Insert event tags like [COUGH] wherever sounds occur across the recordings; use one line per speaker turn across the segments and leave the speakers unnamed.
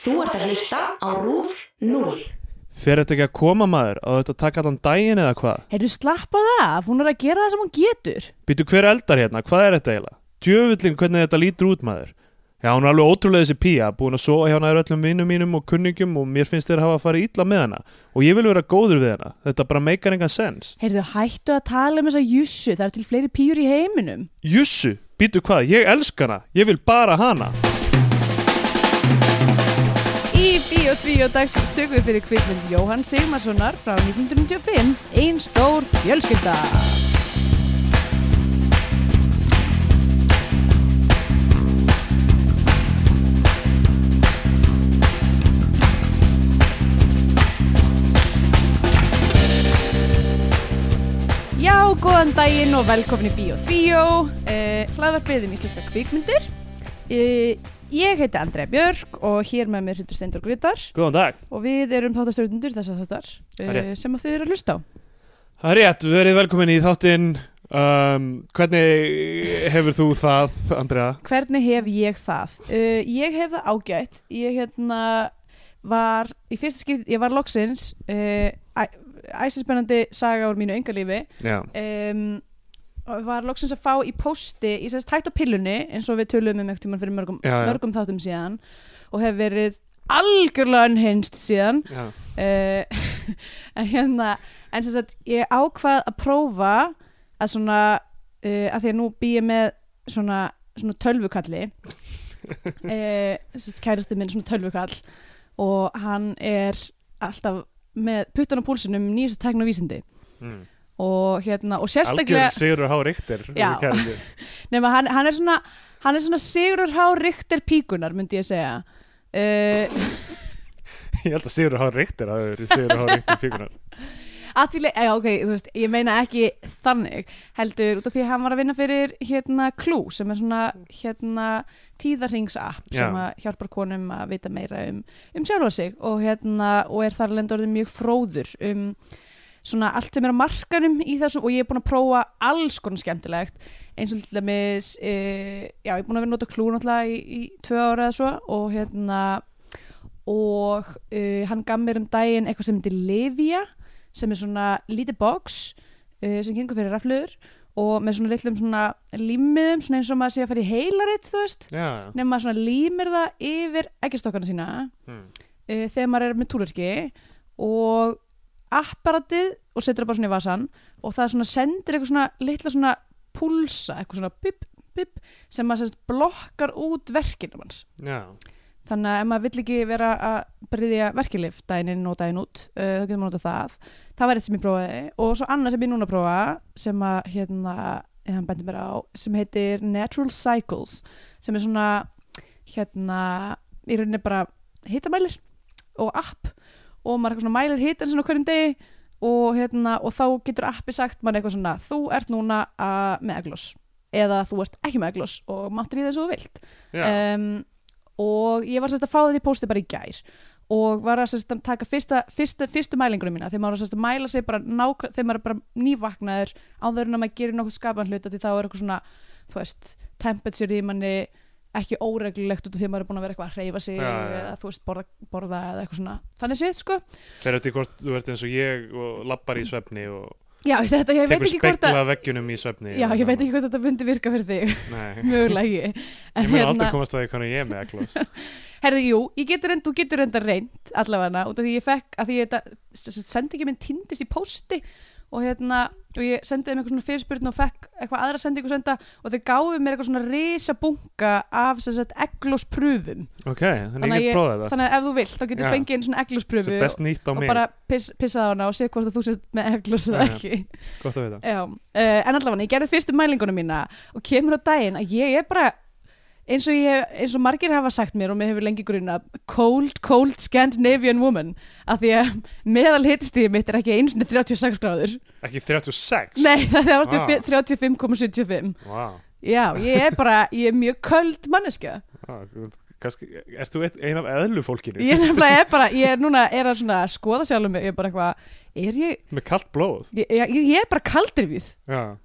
Þú ert að hlusta á RÚF 0.
Fer þetta ekki að koma maður á þetta að taka allan daginn eða hvað?
Heyrðu, slappa það af, hún er að gera það sem hún getur.
Býtu hver eldar hérna, hvað er þetta eiginlega? Djöfullin hvernig þetta lítur út maður? Já, hún er alveg ótrúlega þessi pía, búin að sofa hjá nær öllum vinnum mínum og kunningjum og mér finnst þér hafa farið illa með hana og ég vil vera góður við hana, þetta bara meikar engan sens.
Heyrðu, hættu að tala um þessa jussu, það er til fleiri pýr í heiminum.
Jussu, býtu hvað, ég elska hana, ég vil bara hana.
Í Bíó 2 dagsins tökum við fyrir kvikmynd Jóhann Sigmarssonar frá 1995, Ein stór fjölskylda. Já, góðan daginn og velkomin í Bíó 2, eh, hlaðvarpið um íslenska kvikmyndir. Eh, ég heiti Andrea Björk og hér með mér sittur Steindor Grytar
Góðan dag.
og við erum þáttastjórnundur þess að þáttar
Það er
eh, sem að þið eru að hlusta á.
Það er rétt, verið velkomin í þáttinn. Um, hvernig hefur þú það, Andrea?
Hvernig hef ég það? Uh, ég hef það ágætt. Ég hérna var í fyrsta skipt, ég var loksins uh, æsinspennandi saga úr mínu engalífi
Já.
um, og var loksins að fá í posti í sérst hægt á pillunni eins og við töluðum um ekkert tímann fyrir mörgum,
Já, já.
mörgum þáttum síðan og hef verið algjörlega unhinged síðan
Já.
uh, [LAUGHS] en hérna en sem sagt ég ákvað að prófa að svona uh, að því að nú bý ég með svona, svona tölvukalli uh, sagt, kærasti minn er svona tölvukall og hann er alltaf með puttan á púlsinum nýjastu tækn og vísindi
Mm.
og hérna og sérstaklega
Algjör Sigurður H. Ríktir
Já. nema hann, hann er svona hann er svona Sigurður H. Richter píkunar myndi ég segja uh,
Ég held að Sigurður H. Ríktir að það eru Sigurður H. Ríktir fíkunar
að því leið, já ok, þú veist, ég meina ekki þannig, heldur, út af því að hann var að vinna fyrir hérna Clue, sem er svona hérna tíðarringsapp
Já.
sem að hjálpar konum að vita meira um, um sjálfa sig og hérna, og er þar lendur orðið mjög fróður um svona allt sem er á markanum í þessu og ég er búin að prófa alls konar skemmtilegt eins og til dæmis e, já, ég er búin að vera að nota klú náttúrulega í, í tvö ára eða svo og hérna og e, hann gaf mér um daginn eitthvað sem heitir Livia sem er svona lítið box e, sem gengur fyrir rafluður og með svona litlum svona límiðum svona eins og maður sé að fara í heilaritt þú veist
Já,
nefnum maður svona límir það yfir eggistokkana sína
Hmm.
uh, þegar maður er með túlverki og apparatið og setur það bara svona í vasan og það svona sendir eitthvað svona litla svona púlsa, eitthvað svona bip, bip sem maður sérst blokkar út verkinum hans
já,
þannig að ef maður vill ekki vera að bryðja verkilif daginn inn og daginn út uh, þá getur maður notað það það var eitt sem ég prófaði og svo annað sem ég núna prófa sem að hérna eh, hann bendir mér á sem heitir Natural Cycles sem er svona hérna í rauninni bara hitamælir og app og maður eitthvað svona mælir hitan svona á hverjum degi og hérna og þá getur appi sagt mann eitthvað svona þú ert núna að, með eglos eða þú ert ekki með eglos og máttir í þessu þú vilt
já.
um, og ég var sérst að fá þetta í pósti bara í gær og var að, sérst, að taka fyrsta, fyrsta, fyrstu mælingunum mína þegar maður var sérst, að mæla sig bara nák, þegar maður er bara nývaknaður áður en að maður gerir nokkuð skapan hlut af því þá er eitthvað svona, þú veist, temperature í manni ekki óreglulegt út af því að maður er búin að vera eitthvað að hreyfa sig
Já, já, já.
eða þú veist, borða, borða eða eitthvað svona þannig séð, sko
Þegar þetta er hvort þú ert eins og ég og lappar í svefni og
Já, ég, þetta, ég, veit
tekur
ekki hvort að,
spekla veggjunum í svefni
já, ég veit ekki hvort þetta myndi virka fyrir þig, [LAUGHS]
Nei,
mögulega ekki hérna-
ég mun aldrei komast að því hvernig ég er með
[LAUGHS]
eglós
Herðu, jú, ég getur reynd, þú getur reynda reynd allavega, út af því ég fekk að því ég þetta, s- s- sendingin minn týndist í pósti og hérna, og ég sendiði þeim eitthvað svona fyrirspurn og fekk eitthvað aðra sendingu senda og þau gáðu mér eitthvað svona risabunga af sem sagt egglóspröfum
Ok, þannig
Þannig að
ég
ég-
get prófað þetta
þannig að ef þú vilt, þá getur
Já.
fengið einn svona
Það
egglóspröfu
er best nýtt á
og
mig,
bara piss, pissað á hana og séð hvort að þú sért með egglós
Já,
eða
já.
ekki
gott að vita
Já, uh, en allavega, ég gerði fyrstu mælingunum mína og kemur á daginn að ég er bara eins og, ég, eins og margir hafa sagt mér og mér hefur lengi gruna cold, cold Scandinavian woman af því að meðal hittistíði mitt er ekki eins og 36 gráður
Ekki 36?
Nei, það er
Ah.
35,75
Vá,
Já, ég er bara, ég er mjög köld manneska
Vá, kannski, ert þú einn- ein af eðlufólkinu?
Ég er nefnilega er bara, ég er núna er að svona skoða sjálfum mig, ég er bara eitthvað er ég,
Með kalt blóð
ég, ég, ég er bara kaldrifið
Já,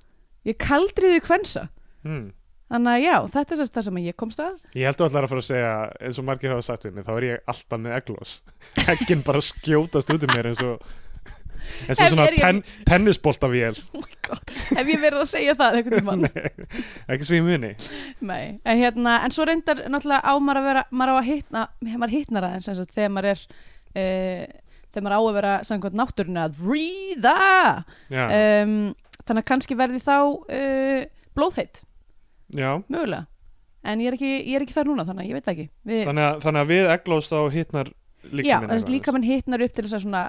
ég er kaldriðið kvensa
mm.
Þannig að já, þetta er sérst það sem ég komst að.
Ég held að allar að fara að segja, eins og margir hafa sagt við mig, þá er ég alltaf með eglós. [LAUGHS] Eggin bara skjótast út um mér eins og, eins og
Ef
svona
er ég-
ten, tennisboltavél, [LAUGHS]
Oh Hef ég verið að segja það einhvern tímann?
ekki sem ég muni.
Nei, en, hérna, en svo reyndar náttúrulega á maður að vera, maður á að hitna, maður hitnar aðeins eins og þegar maður er, uh, þegar maður á að vera samkvæmt náttúrunni að ríða.
Já,
Um, þannig að kannski verði þá uh, blóðheitt,
já.
mögulega. En ég er, ekki, ég er ekki þar núna, þannig að ég veit það ekki. Við,
Þannig að, þannig að við eglós þá hittnar líka
já, þannig að líka mann hitnar upp til þess að svona,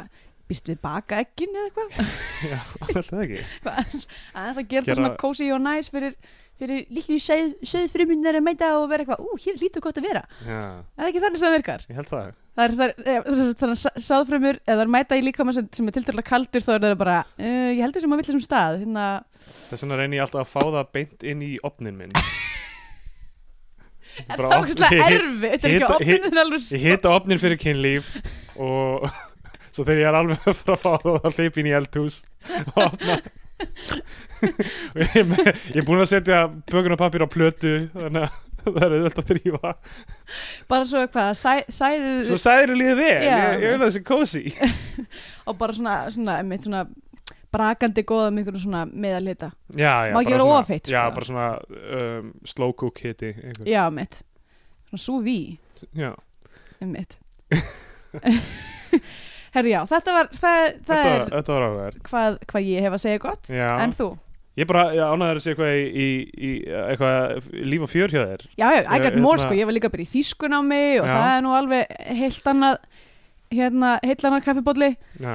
býst við baka ekkin eða eitthvað?
[LAUGHS] Já, alltaf ekki.
aðeins aðeins að gera
Gera-
þetta svona cozy og næs fyrir, fyrir líklu söðfrumunnar að mæta og vera eitthvað, ú, hér lítur gott að vera
Já,
það er ekki þannig sem það virkar
ég held það.
það er, það er, það er, þannig að sáðfrumur ef það er mæta í líkama sem, sem er tilturlega kaldur þá er það bara, uh, ég heldur sem að vill þessum stað hérna,
Þess vegna reynir ég alltaf að fá það beint inn í opnin minn.
er
Bara
það
opn-
ógæslega
hita-
erfið þetta er ekki
hita-
opniðin alveg
Ég
s-
hita opnin fyrir kynlíf og [LAUGHS] svo þegar ég er alveg að fara að fá það þá hleyp ég inn í eldhús og opna [LAUGHS] og ég, er með- ég er búin að setja bökunarpapir á plötu þannig að það er auðvitað að þrýfa
bara svo eitthvað, sæ, sæðið
Svo sæðir líðið vel,
Já.
ég, ég vil að þessi
[LAUGHS]
kósi
og bara svona, svona, einmitt svona brakandi góða með einhverjum svona meðalita
Já, já,
Má
bara
ekki vera
svona-
ofeitt,
Já,
sko.
bara svona um, slow cook hiti einhver.
já, mitt, svona súví
Já,
Einmitt [LAUGHS] Herri já, þetta var það, það
þetta,
er
þetta var áhver
hvað, hvað ég hef að segja gott
Já,
en þú,
ég bara ánæður að sé eitthvað í, í, í eitthvað líf og fjör hjá þér
já, já, I
Ég-
got more
hérna-
sko ég var líka bara í þýskun á mig og
Já.
það er nú alveg heilt annað hérna, heilt annað kaffibólli
Já,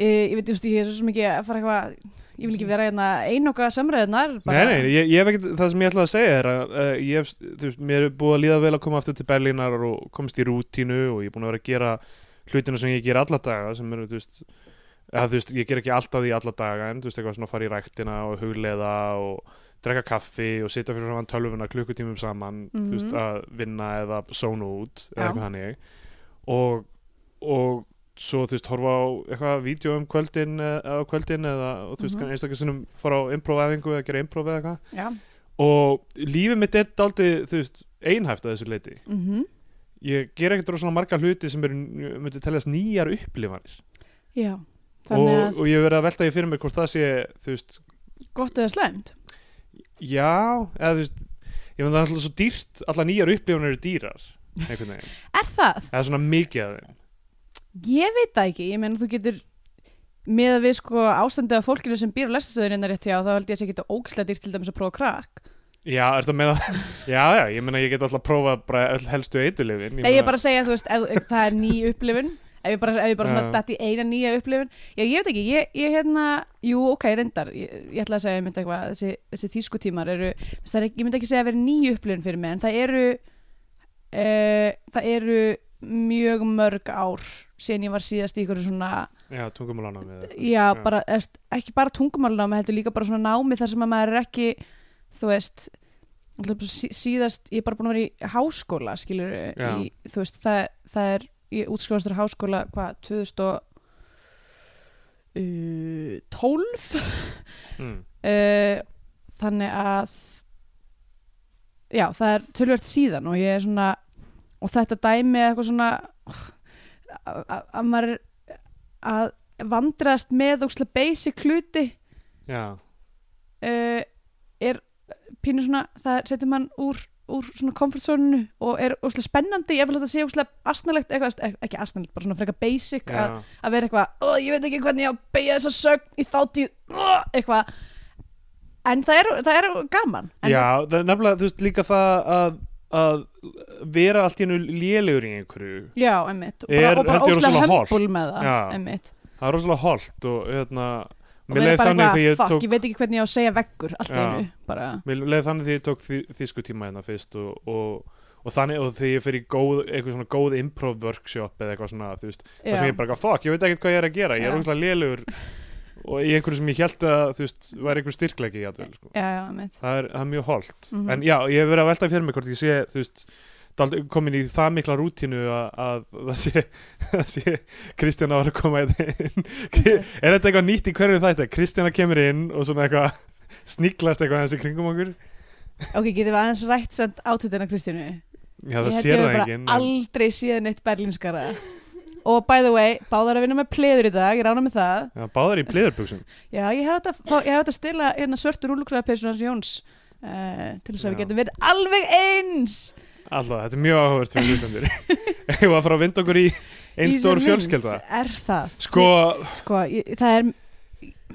e, ég veit, þú veist, ég er svo mikið að fara eitthvað ég vil ekki vera hérna einoka samræðunar
Nei, nei, ég, ég hef ekkert, það sem ég ætlaði að segja er að uh, ég hef, þú veist, mér er búið að líða vel að koma aftur til Berlínar og komst í rútínu og ég er búin að vera að gera hlutina sem ég ger alla daga sem eru, þú veist, eða, þú veist, ég ger ekki alltaf því alla daga en, þú veist, eitthvað svona fara í ræktina og hugleða og drekka kaffi og sitja fyrir framann tölvuna klukkutímum saman,
Mhm.
þú veist, að vinna eða sóna út eða
Já.
eitthvað hannig og, og svo þú veist horfa á eitthvað vídeo um kvöldin eða á kvöldin eða og, þú veist mm
Mhm.
-hmm. einstaklega sinnum fara á improvæðingu eða gera improv eða eitthvað
já,
og lífið mitt er daldið þú veist einhæft að þessu leiti
mhm
ég ger ekkert rosalega marga hluti sem eru myndi teljast nýjar upplifanir
já þannig
og,
að,
og ég hef verið að velta ég fyrir mér hvort það sé þú veist
gott eða slæmt
já eða þú veist ég finn það er alltaf svo dýrt allar nýjar upplifanir eru dýrar einhvern veginn
er það,
eða svona mikið af þeim
ég veit það ekki ég meina þú getur með að við sko ástandið af fólkinu sem býr á lestastöðunina rétt hjá þá held ég að sé geta ógislega dýrt til dæmis að prófa krakk
já, ertu að meina [LAUGHS] já, já, ég meina ég get alltaf prófað bara öll helstu eitulifin
Nei, ég er bara að segja, þú veist, ef, ef það er ný upplifun ef ég bara, ef ég bara svona
Já.
datt í eina nýja upplifun já, ég veit ekki, ég, ég hérna jú, ok, reyndar, ég, ég ætla að segja mynd eitthvað, þessi, þessi þýskutímar eru þess, það er, ekki- ég myndi ekki segja að vera ný upplifun fyrir mig en það eru uh, það eru mjög mörg ár síðan ég var síðast í ykkur svona
Já, tungumálanámið eða eitthvað.
já, bara, eftir, ekki bara tungumálnámi heldur líka bara svona námi þar sem að maður er ekki þú veist náttúrulega bara sí- síðast, ég er bara búin að vera í háskóla skilur,
Já.
í, þú veist það, það er, ég útskrifast úr háskóla hvað, uh, 2012
mm.
uh, þannig að já, það er tölvöld síðan og ég er svona og þetta dæmi er eitthvað svona að- að að maður er að vandrast með ókslega basic hluti
Já,
uh, er pínu svona, það setur mann úr úr svona komfortzóninu og er óslega spennandi, ég vil þetta sé óslega asnalegt eitthvað, þú veist, ekki asnalegt, bara svona frekar basic að,
já,
að vera eitthvað, ó, ég veit ekki hvernig ég á að beigja þessa sögn í þáttíð ó, eitthvað en það er, það er gaman en
já það er nefnilega, þú veist, líka það að, að vera allt í hennu lélegur í einhverju
já emmitt, og
Er-
bara, og bara
þetta er
óslega
rosalega holt.
hömbul með það
Já.
emmitt,
Það er rosalega holt og hérna
og
Mér
vera
leið
bara
þannig þegar
eitthvað,
ég
fuck,
tók
ég veit ekki hvernig ég á að segja veggur allt í
Já.
einu, bara
Mér leið þannig þegar ég tók þý, þýsku tíma hérna fyrst og, og, og þannig og þegar ég fer í góð, eitthvað svona góð improv workshop eða eitthvað svona, þú veist
já,
það sem ég bara, eitthvað, fuck, ég veit ekkert hvað ég er að gera ég
Já.
er rosalega lélegur og í einhverju sem ég held að, þú veist, væri einhver styrklegi í atvöld, sko.
já, já, emmitt
það er, það er mjög holdt
Mhm.
en já, ég hef verið að velta fyrir mig hvort ég sé þú veist, dald- komin í það mikla rútínu að, að það sé, [LAUGHS] það sé Kristjana var að koma hérna inn er þetta [LAUGHS] eitthvað nýtt í hverju þetta Kristjana kemur inn og svona eitthvað sníklast eitthvað hans í kringum okkur
ok, getum við aðeins rætt samt átöðina Kristínu
Já, það
ég
sér
hefði
það
bara
enginn en-
aldrei síðan eitt berlínskara og by the way, báðar að vinna með pleður í dag, ég rána með það
Já, báðar í pleðurbuxum
já, ég hef þetta, fá- ég hef þetta stila hérna, svörtu rúlukræðapersonans Jóns uh, til þess að við
Já.
getum verið alveg eins
Alltaf, þetta er mjög áhugavert fyrir
[LAUGHS]
hlustendur Ég var að fara að vinda okkur í einn
Í
stór
þessari
fjölskelda
mynd er það,
Sko,
sko, ég, það er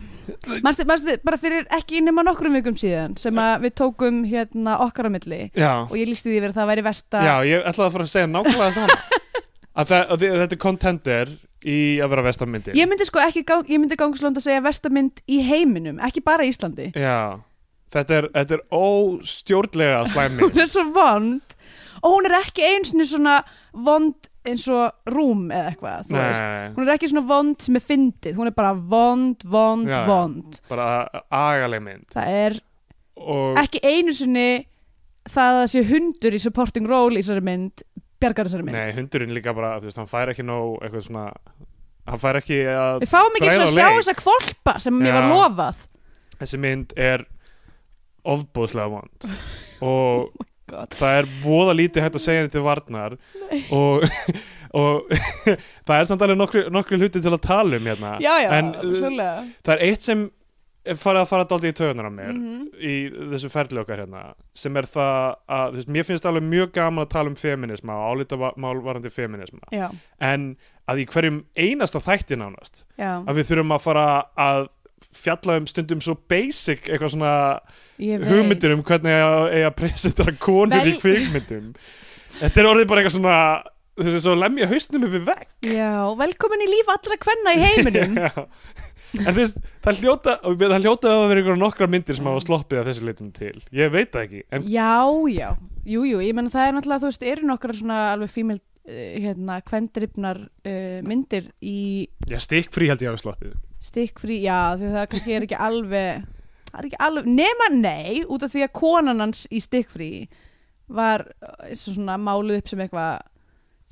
Manstu, manstu, bara fyrir ekki nema nokkrum vikum síðan sem að við tókum hérna okkar á milli
já
og ég lísti því verið að það væri versta
Já, ég ætlaði að fara að segja nákvæmlega
[LAUGHS]
það sama að, það, að þi- þetta er contender í að vera vestamyndir
Ég myndi sko ekki, gang, ég myndi gangslónd að segja vestamynd í heiminum, ekki bara í Íslandi.
Já, þetta er, þetta er óstjórnlega slæmi
[LAUGHS] Hún er svo vond og hún er ekki einsinni svona vond eins og rúm eða eitthvað, þú veist.
Nei,
Hún er ekki svona vond sem er fyndið, hún er bara vond, vond,
Já, já.
vond.
bara agaleg mynd
Það er
og
ekki einu sinni það að það sé hundur í supporting role í þessari mynd, bjargar þessari mynd.
nei, hundurinn líka bara, þú veist, hann fær ekki nóg eitthvað svona, hann fær ekki að
Við fáum ekki
Bræða
svona að sjá
leik.
þessa kvolpa sem mér var
Já.
lofað.
þessi mynd er ofbúðslega vond
[LAUGHS]
og
God.
það er voða lítið hægt að segja henni til varnar og, [LAUGHS] og [LAUGHS] það er samt alveg nokkri, nokkri hluti til að tala um hérna
Já, já,
en uh,
hljóðlega.
það er eitt sem er farið að fara daldið í töðunar á mér
Mhm.
í þessu ferli okkar hérna sem er það að, þú veist, mér finnst alveg mjög gaman að tala um feminisma og álitamál varandi feminisma
Já,
en að í hverjum einasta þætti nánast
já,
að við þurfum að fara að fjalla um stundum svo basic eitthvað svona
ég veit.
hugmyndir um hvernig eiga eiga að presentera konur í
Vel-
kvikmyndum þetta er orðið bara eitthvað svona þessi svo lemja hausnum yfir vegg
Já, velkomin í líf allra kvenna í heiminum
[LAUGHS] Já. en þú veist, það hljóta og við- það hljóta að vera einhverja nokkra myndir sem hafa sloppið að þessu litum til, ég veit það ekki en
Já, já, jú, jú, ég menna það er náttúrulega, þú veist, eru nokkra svona alveg fímil, uh, hérna, kvendrifnar uh, myndir í
já, stikkfrí held ég hafi sloppið
stikkfrí, já, því það kannski er ekki alveg, það er ekki alveg, nema nei, út af því að konan hans í stikkfrí var uh, svona máluð upp sem eitthvað,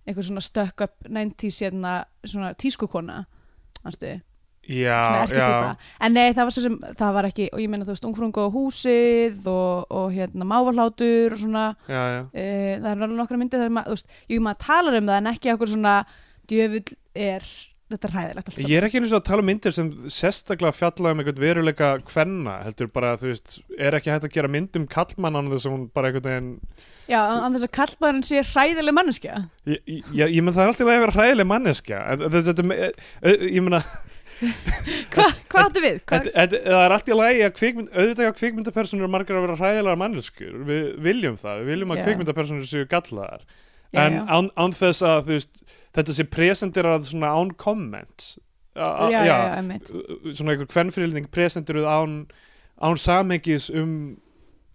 eitthvað svona stökk upp 90s, hérna, svona tískukona, hanstu,
já, já,
svona erketýpa en nei það var svo sem, það var ekki og ég meina þú veist, ungfrungu og húsið og, og hérna mávarhlátur og svona uh,
já, já
það er alveg nokkra myndir þar maður, þú veist, ég maður talar um það en ekki okkur svona djöfull er, þetta er hræðilegt allt
Ég er ekki einu svona að tala um myndir sem sérstaklega fjalla um einhvern veruleika kvenna heldur bara, þú veist, er ekki hægt að gera mynd um kallmann án þess að hún bara einhvern veginn
saman já, an- án þess að kallmaðurinn sé hræðileg manneskja
Ég, ég, ég, ég menn það er alltaf að vera hræðileg manneskja en þess- þetta, me- eh, eh, ég menna
Hva, hvað áttu við? Hva,
þetta- þetta- það er alltaf að að kvikmynd, auðvitað hjá kvikmyndapersonur er margar að vera hræðilega manneskur við viljum það, við viljum að
Já.
kvikmyndapersonur séu gallaðar
já,
en
já.
án, án þess að þú veist, þetta sé presenterað svona án comment
já, já, já, einmitt.
svona einhver kvennfyrirlning presenteruð án, án samhengis um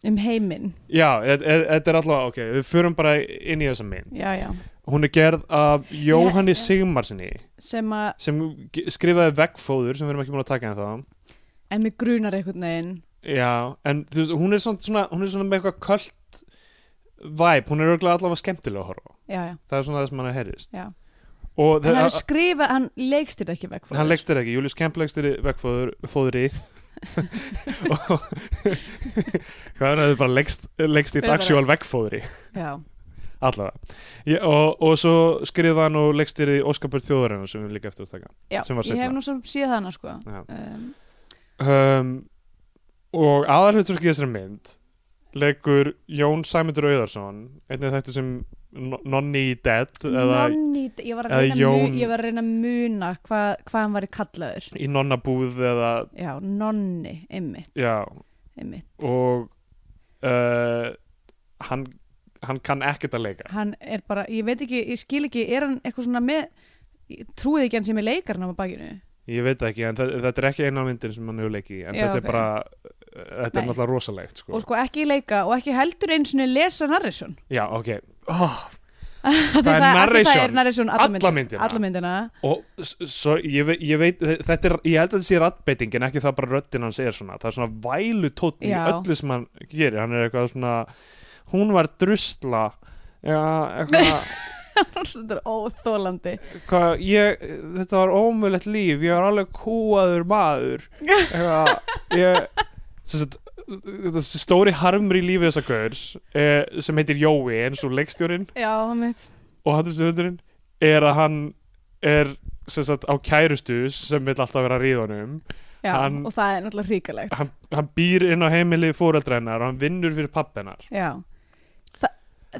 um heiminn
já, e- e- þetta er allavega ok, við förum bara inn í þessa mynd
já, já.
hún er gerð af Jóhanni
Já, já.
Sigmarsinni
sem að,
sem ge- skrifaði veggfóður sem við erum ekki búin að taka en þá
en mig grunar einhvern veginn
já, en þú veist, hún er svona, svona hún er svona með eitthvað kvöld vibe, hún er örgulega allavega skemmtilega að horfa á.
já, já,
það er svona það sem hann er herrist
já
og
en
það,
hann skrifa, hann leikstir ekki vekk
hann leggst þér ekki, Július Kemp leggst þér veggfóðri og hvað er það bara leggst leggst þér
Bara-
actual veggfóðri
já,
allavega ég, og, og svo skrifa hann og leggst þér í Óskapur þjóðarinn sem við líka eftir að taka
já,
Sem var
ég hef
seinna.
nú sem séð hana sko
Já.
um,
um, og aðalhutur í þessari mynd leikur Jón Sæmundur Auðarsson einnig þetta sem No- Nonni í Dead eða
Nonni, ég var
eða
að reyna,
Jón-
Jón... ég var að, reyna að muna hvað, hvað hann var í kallaður
í Nonnabúð eða
já, nonni, ymmit,
já,
ymmit.
og uh, hann, hann kann ekkert að leika
hann er bara, ég veit ekki, ég skil ekki er hann eitthvað svona með ég trúið ekki hann sem er leikarinn á bakinu
ég veit það ekki, en þa- þetta er ekki eina myndin sem hann hefur leikið í, en
Já,
þetta
ok.
er bara uh, þetta er
Nei.
náttúrulega rosalegt sko.
og sko ekki leika og ekki heldur einu sinni lesa narration
já, ok, oh, er
það, [LAUGHS] af því það
narration.
er narration alla,
Alla myndina.
alla myndina
[LAUGHS] Og s- svo, ég, ve ég veit, þetta er, ég held að þetta sé rattbeiting en ekki það bara röddinn hans er svona það er svona vælu tótn í
Já.
öllu sem hann gerir hann er eitthvað svona hún var drusla já, eitthvað,
þetta er óþólandi
eitthvað ég, þetta var ómögulegt líf ég var alveg kúaður maður eitthvað, ég sem sagt, þetta stóri harmur í lífi þessa gauðs eh, sem heitir Jói eins og leikstjórin
já, mitt
og handriðstöðurinn er að hann er sem sagt á kærustu sem vil alltaf vera að ríða honum
já,
Hann-
og það er náttúrulega ríkalegt
hann, hann býr inn á heimili fóreldrennar og hann vinnur fyrir pappennar
já Þa,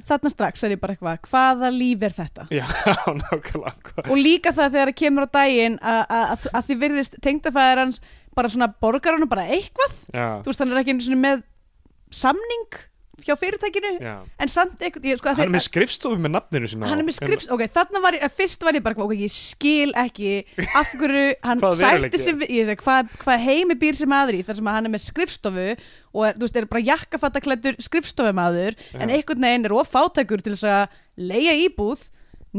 þarna strax er ég bara eitthvað hvaða líf er þetta
já, [LAUGHS] nákvæmlega hvað-
og líka það þegar það kemur á daginn að, að, að því virðist tengdafæðir hans bara svona borgar hann bara eitthvað
já,
þú veist hann er ekki einu sinni með samning hjá fyrirtækinu
já.
en samt eitthvað ég, sko,
hann er með skrifstofu með nafninu sína
hann er með skrifst, ok, þarna var ég, að fyrst var ég bara, ok, ég skil ekki af hverju
[LAUGHS]
hann
Hvaða veruleiki
sætti
er?
sig við, ég segi, hvað, hvað heimi býr sem aðri þar sem að hann er með skrifstofu og er, þú veist, er bara jakkafattaklættur skrifstofumaður en
Já.
einhvern veginn er of fátækur til þess að leia íbúð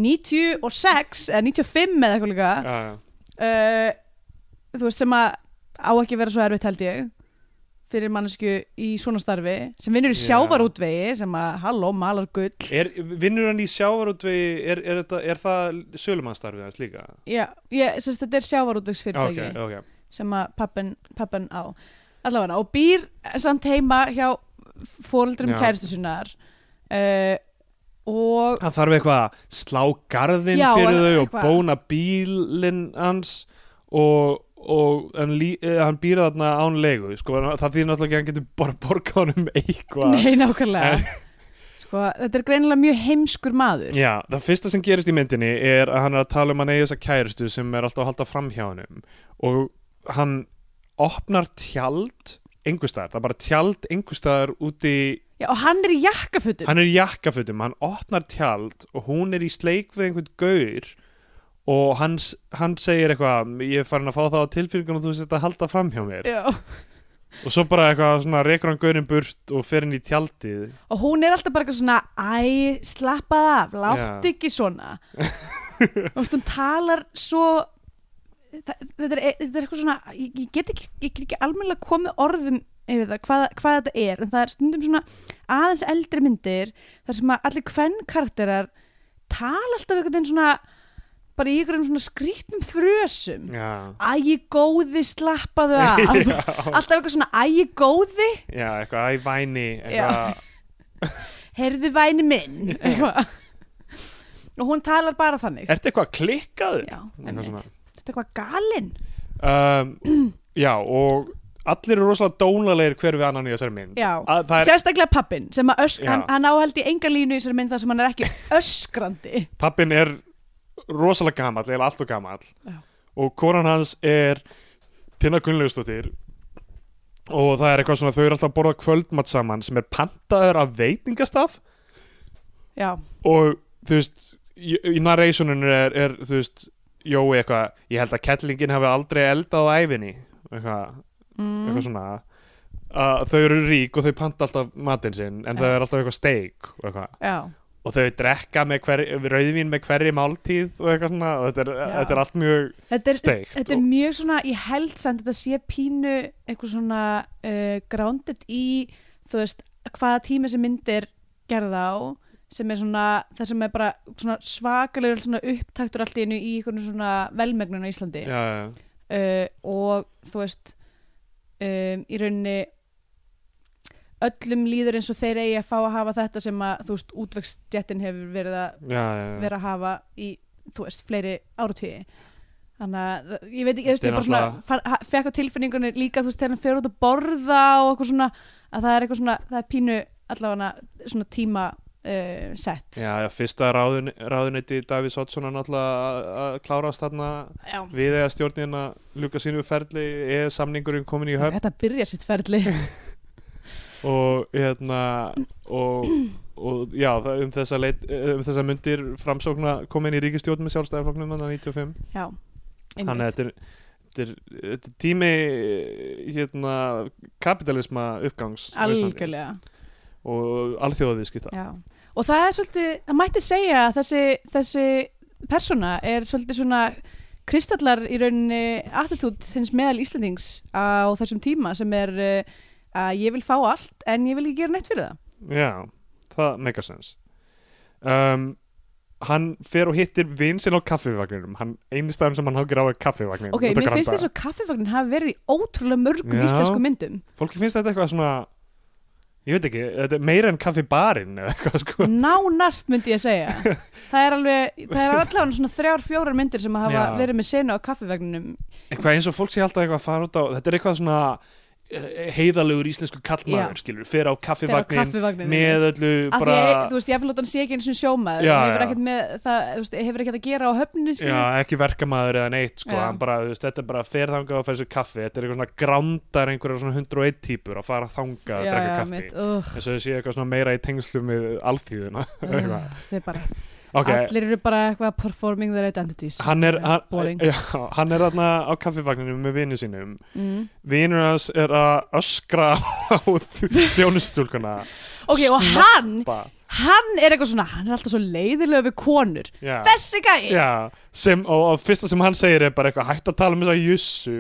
96 eða 95 eða eitthvað líka
já, já.
uh, þú veist sem að á ekki að vera svo erfitt held ég fyrir mannesku í svona starfi sem vinnur í
Já.
sjávarútvegi sem að halló malar gull
Er, vinnur hann í sjávarútvegi er, er, þetta- er það sölumannstarfið hans líka?
Já, ég, sérst, þetta er sjávarútvegsfyrirtæki
ok, ok
sem að pappin, pappin á allavega og býr samt heima hjá fóreldrum
Já.
kæristu sinnar uh, og
Hann þarf eitthvað að slá garðin
Já,
fyrir
en-
þau og
eitthvað.
bóna bílinn hans og, og hann, lí, eh, hann býr þarna án legu sko, en það þýðir náttúrulega ekki að hann getur bara borgað honum um eitthvað
nei nákvæmlega sko, þetta er greinilega mjög heimskur maður
Eh. Já, það fyrsta sem gerist í myndinni er að hann er að tala um hann eigi þessa kærustu sem er alltaf að halda fram hjá honum og hann opnar tjald einhverstaðar, það er bara tjald einhverstaðar úti í
Já, og hann er í jakkafutum
hann er í jakkafutum, hann opnar tjald og hún er í sleik við einhvern gaur og hann, s- hann segir eitthvað, ég er farin að fá það á tilfylgjum og þú setja að halda fram hjá mér
Já.
og svo bara eitthvað svona rekur hann gaurinn burt og fer inn í tjaldið
og hún er alltaf bara eitthvað svona æ, slappað af, látt
Já.
ekki svona og þú veist, hún talar svo þa- þetta er, e-, þetta er eitthvað svona ég, ég get ekki, ég get ekki almennilega komið orðum yfir það, hvað, hvað þetta er en það er stundum svona aðeins eldri myndir þar sem að allir kvenn karakterar tala alltaf einhvern veginn svona bara í einhverjum svona skrýtnum frösum
Já,
ægi góði,
[LAUGHS]
slappaðu af alltaf eitthvað svona ægi góði
já eitthvað, æ, væni
Já.
eitthvað,
heyrðu væni minn eitthvað. og hún talar bara þannig
Ertu eitthvað klikkaður?
já,
Eitthvað svona.
einmitt þetta er eitthvað galinn
Um, [CLEARS THROAT] já, og allir eru rosalega dónalegir hver við annan í þessari mynd
já.
Að það er,
sérstaklega pappin sem að ösk,
Já.
hann, hann áhaldi enga línu í sér mynd þar sem hann
[LAUGHS]
er ekki öskrandi
pappin er rosalega gamall, eða allt og gamall
Já.
og konan hans er Tina Gunnlaugustóttir og það er eitthvað svona þau eru alltaf að borða kvöldmatt saman sem er pantaður af veitingastaf
já,
og þú veist í í narrationinu er, er þú veist Jói eitthvað, ég held að kettlingin hafi aldrei eldað á æfinni eitthvað,
Mm.
eitthvað svona að þau eru rík og þau panta alltaf matinn sinn en það
Já.
er alltaf eitthvað steik og eitthvað
já,
og þau drekka með hver, rauðvín með hverri máltíð og eitthvað svona og þetta er,
Já.
þetta er allt mjög
þetta er,
Steikt
þetta er
og-
mjög svona ég held samt að þetta sé pínu eitthvað svona uh, grounded í þú veist, hvaða tíma sem myndir gerða á sem er svona, það sem er bara svona svakalegur svona upptaktur allt í einu í einhvern svona velmegnun á Íslandi
já, já,
uh, og þú veist um, í rauninni öllum líður eins og þeir eigi að fá að hafa þetta sem að þú veist útvegstjettin hefur verið að
já, já, já.
vera að hafa í þú veist fleiri áratugji þannig að það- ég veit ekki, þú veist,
Þetta
ég
er
bara svona far, ha, fekk á tilfinningunni líka þú veist þegar hann fyrir út að borða og eitthvað svona að það er eitthvað svona, það er pínu allavega svona tíma uh, sett
Já, já, fyrsta ráðun, ráðuneyti Davís Oddssonar náttúrulega að- að klárast þarna
Já.
við eða stjórnin að ljúka sínu ferli eða samningurinn komin í höfn
þetta byrja sitt ferli
[LAUGHS] og hérna og, og já, það- um þessa, leit, um þessa myndir framsókna komin í ríkistjórn með sjálfstæðarflokknum þannig að 95
já,
þannig að
einmitt,
þetta er, þetta er, þetta er tími hérna kapitalisma uppgangs á Íslandi
algjörlega
og alþjóðavískipta
Já, og það er svolítið, það mætti segja að þessi, þessi persóna er svolítið svona kristallar í rauninni attitút hins meðal Íslandings á þessum tíma sem er eh, að ég vil fá allt en ég vil ekki gera neitt fyrir það.
Já, það make a sense um, hann fer og hittir vinsinn á kaffivagninum hann einstæðan sem hann hákir á er kaffivagnin
ok, mér finnst þess að kaffifagnin hafi verið í ótrúlega mörgum
Já.
íslensku myndum
fólki finnst þetta eitthvað svona ég veit ekki, þetta er meira en kaffibarinn eða eitthvað sko
nánast myndi ég
[LAUGHS]
segja það er alveg, það er allavega svona þrjár, fjórar myndir sem hafa
Já.
verið með senu á kaffivagninum
eitthvað eins og fólk sé alltaf eitthvað að fara út á þetta er eitthvað svona eh, heiðarlegur íslensku kallmaður skilur, fer á
þegar á
kaffivagnin
kaffivagninum
með öllu
Af
bara
því, þú veist, ég fyrir hann sé ekki eins og sjómaður
Já,
hefur
já.
ekkert með, það, þú veist, hefur ekkert að gera á höfninu
Já, ekki verkamaður eða neitt sko,
Já.
hann bara, þú veist, þetta er bara fer þangað og fær sér kaffi, þetta er eitthvað svona grándar einhverjar svona 101 típur að fara þangað að drekka kaffi,
mitt, uh,
eins og þau séu eitthvað svona meira í tengslu með alþýðuna
uh,
[LAUGHS] Eitthvað.
þeir bara,
ok,
allir eru bara eitthvað performing their identities
hann er hann,
Boring.
já, hann er þarna á kaffivagninu með vinu sínum,
mm.
vinur hans er að öskra á [LAUGHS] þjónustúlkuna
ok, og
Snappa.
hann,
Ba-
hann er eitthvað svona hann er alltaf svo leiðilega við konur
já.
þessi gæi
Já, sem, og, og fyrsta sem hann segir er bara eitthvað hætt að tala um þess að jussu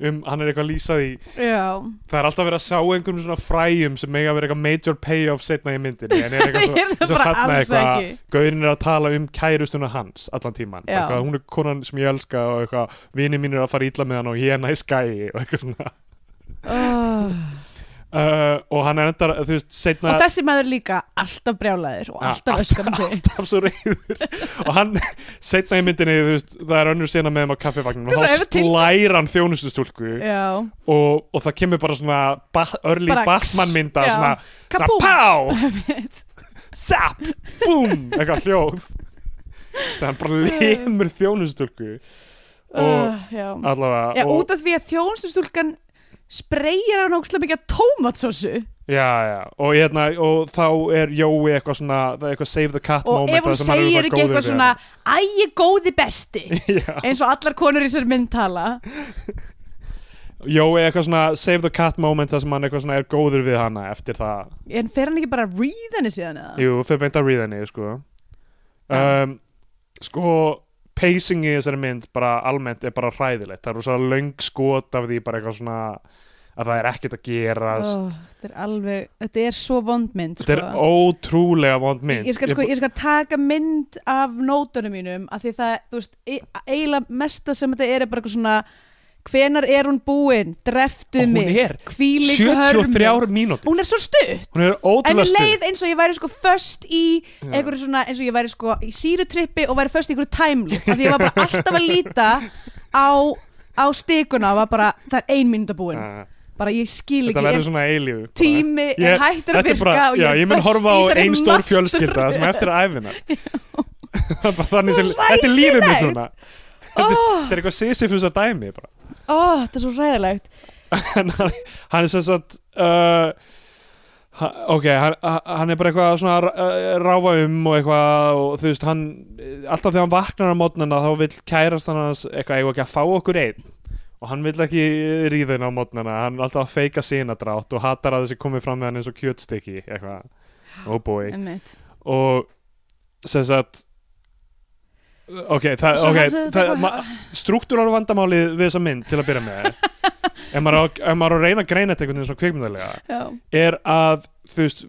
um, hann er eitthvað að lýsa því
Já.
Það er alltaf verið að sjá einhverjum svona fræjum sem eiga að vera eitthvað major payoff setna í myndinni en er eitthvað
[LAUGHS]
svo,
Er það
eins og
bara
þarna
alls
eitthvað
ekki?
gaurin er að tala um kærustuna hans allan tíman,
Já.
eitthvað, hún er konan sem ég elska og eitthvað, vini mín er að fara ítla með hann og ég er næ skæi og eitthvað svona
Oh.
uh, og hann er endar, þú veist, setna [LAUGHS]
og þessi maður líka alltaf brjálæður og
Ja,
alltaf öskandi
af svo reyður og hann, setna í myndinni, þú veist það er önnur sena með hann á kaffivagnin
Svo
og
ef
þá
við til-
slæra hann þjónustustúlku
já,
og, og það kemur bara svona ba örli
Bara kss,
Batman mynda
já.
svona, svona
Kabúm. [LAUGHS]
pá zap, búm eitthvað hljóð það er
[LAUGHS]
bara limur þjónustölku Og-
uh, já.
allavega
já
og,
út af því að þjónustustúlkan spreyjar hann ógstlega mikið að tómatsósu
já, já, og, hérna, og þá er Jói eitthvað svona það er eitthvað save the cat
og
moment
ef hún
þar sem hann er
segir
svo
ekki
góður
eitthvað
við
svona æ, ég góði
[LAUGHS]
besti
hana.
eins og allar konur í sér mynd tala
Já, Jói eitthvað svona save the cat moment þar sem hann eitthvað svona er góður við hana eftir það
en fer hann ekki bara að read henni síðan eða?
Jú, fyrir beint að ríða henni, sko
Já.
um, Sko, pacing í þessari mynd bara almennt er bara hræðilegt Það eru svo löng skot af því bara eitthvað svona að það er ekkert að gerast
Ó, þetta er alveg, þetta er svo vond mynd
Þetta er
sko.
ótrúlega vond mynd
Ég skal, sko, ég skal taka mynd af nótunum mínum af því það, þú veist, e- eiginlega mesta sem þetta er er bara eitthvað svona hvenar er hún búin, dreftu
Og hún
mig
er
hvílík hörmung.
73 mínútur
hún er svo stutt
Hún er
en
ótrúlega
ég
stutt
leið eins og ég væri sko föst í einhverju svona, eins og ég væri sko í sírutrippi og væri föst í einhverju time loop af því ég var bara alltaf að líta á, á stikuna og var bara, það er ein mínúta búin
Ah,
bara ég skil
Þetta
ekki,
verður
er
svona eilífu bara.
tími
Ég-
er hættur að
þetta er
virka
bara-
og
já,
ég
ég mun
föst
horfa á
í þessari
ein stór
martröð.
fjölskylda sem eftir æfina Það er bara [LAUGHS] þannig sem þetta er lífið mitt núna
oh,
þetta er eitthvað sísifúsa dæmi bara.
oh, þetta er svo ræðilegt
en hann, hann er sem sagt uh, ha- ok, hann, hann er bara eitthvað svona að rá- ráfa um og eitthvað og þú veist, hann alltaf þegar hann vaknar á mótnana þá vill kærast hann hans eitthvað eigum við ekki að fá okkur einn og hann vill ekki ríðin á mótnana hann er alltaf að feika sinadrátt og hatar að þessi komið fram með hann eins og kjötstykki eitthvað, oh boy
Einmitt.
og sem sagt ok, það,
Svo hann
okay
sem sagt
það,
eitthvað-
ma- struktúrar vandamálið við þessa mynd til að byrja
[LAUGHS]
með ef maður á ef maður á að reyna að greina þetta einhvern veginn svona kvikmyndalega
Já.
er að þú veist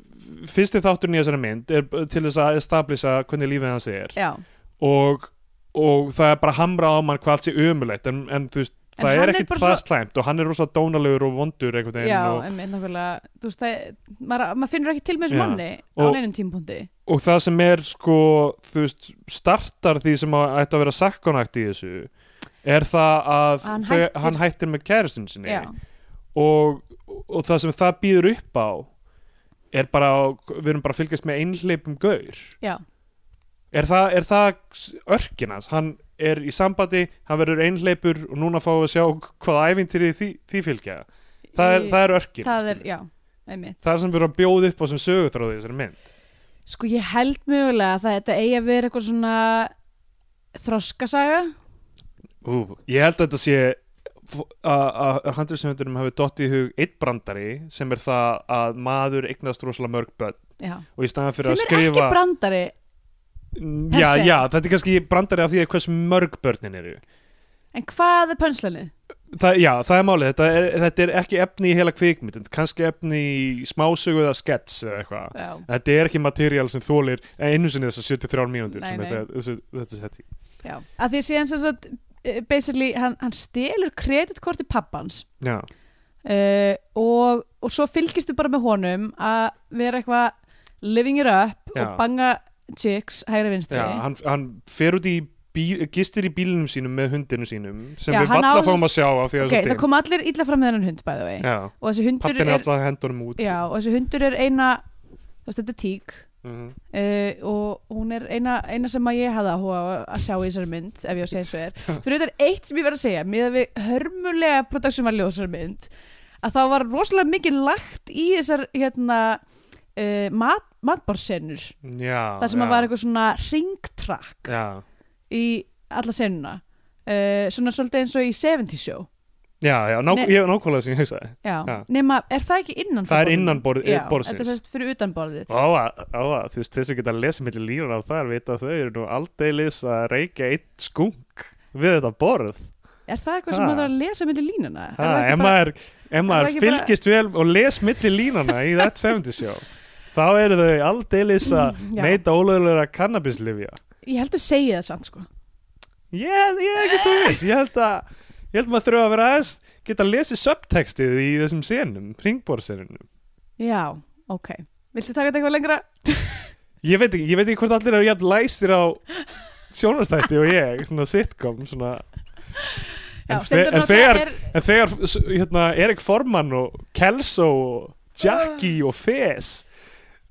fyrsti þátturinn í þessari mynd er b- til þess að establisa hvernig lífið hans er
Já.
og, og það er bara hamrað á mann hvað allt sé ömulegt en, en þú veist
En
það
hann
er
er
ekkert
bara
það
svo-
slæmt og hann er rosa dónalegur og vondur einhvern veginn
Já,
og,
einmitt nákvæmlega þú veist, það, maður, maður finnur ekki til með þessum
Já.
manni á
Og-
neinum tímpúndi
og það sem er sko þú veist, startar því sem að- ætti að vera sakkonakt í þessu er það að
Hann
þau-
hættir.
hann hættir með kæristun sinni
Já,
og, og það sem það býður upp á er bara við erum bara að fylgjast með einhleipum gaur
já,
er það, er það örkinans hann er í sambandi, hann verður einhleipur og núna fáum við að sjá hvaða æfintýri því, því fylgja það er,
Í-
það er örkin
það er, já, einmitt
það er sem við erum að bjóða upp á sem sögutróði þessari mynd
Sko ég held mögulega að það þetta eigi að vera eitthvað svona þroskasaga
Ú, ég held að þetta sé f- að að handriðsefundunum hafi dott í hug eitt brandari sem er það að maður eignast rosalega mörg börn
já.
og í staðan fyrir
sem
að
er
skrifa
ekki brandari
Mm, já,
se.
já, þetta er kannski brandari af því að hvers mörg börnin eru
En hvað er pönslanið?
það, já, það er málið, þetta er, þetta er ekki efni í heila kvikmynd, kannski efni í smásögu eða skets eða eitthvað
Já,
þetta er ekki materiál sem þólir einu sinni þessar 73 mínútur
Nei,
sem
nei.
þetta, þessi, þetta er sett í
já. Að því síðan sem sagt, eh, basically, hann, hann stelur kreditkorti pappans
já,
uh, og, og svo fylgistu bara með honum að vera eitthvað living it up
Já.
og banga chicks hægri vinstri.
já hann, hann fer út í bíl, gistir í bílnum sínum með hundinu sínum sem
Já,
við
hann
valla
á-
fáum að sjá af því að
ok, það
dimm.
kom allir illa fram með hennan hund bæði vei.
já,
Og þessi hundur
pappin er
er,
alltaf að henda honum út
já, og þessi hundur er eina, þú veist, þetta er tík.
Mhm.
Uh, og hún er eina, eina sem að ég hafði áhuga á að sjá í þessari mynd ef ég á að segja eins
[LAUGHS]
og er fyrir þetta er eitt sem ég verð að segja með að við hörmulega production value á þessari mynd að það var rosalega mikið lagt í þessar hérna, uh, mat, matbársennur
já,
það sem
já,
að var eitthvað svona ringtrakk
já,
í alla senuna uh, svona svolítið eins og í 70 show
já, já nák
Nei.
ég er nákvæmlega sem ég hugsaði
Já.
Já.
nema er það ekki innan
Það er
borðinu?
innan borð-
Já,
borðsins.
þetta er sérst fyrir utan borðið
Á að, á að, þú veist, þess að geta að lesa millir lífur á þar, vita að þau eru nú aldeilis að reykja eitt skunk við þetta borð.
er það eitthvað sem
Ha.
maður er að lesa myndi línuna Er
Ha,
það ekki
ef
bara-
maður, ef maður
ekki bara-
fylgist vel og les millir línana í That 70 Show, þá eru þau aldeilis að
[LAUGHS] Já.
neyta ólögulega kannabislifja.
ég held að segja það samt sko
Ég, ég er ekki svo viss, ég held að, ég held maður þurfa að vera aðeins, geta að lesi subtextið í þessum senum, ringborðsenunum.
Já, ok. Viltu taka þetta eitthvað lengra?
Ég veit ekki, ég veit ekki hvort allir eru jafn læstir á sjónastætti og ég, svona sitcom, svona...
Já,
En
Steindór
þe- en
náttúrulega
þegar- En þegar s- hérna, Erik Forman og Kelso og Jackie og Fes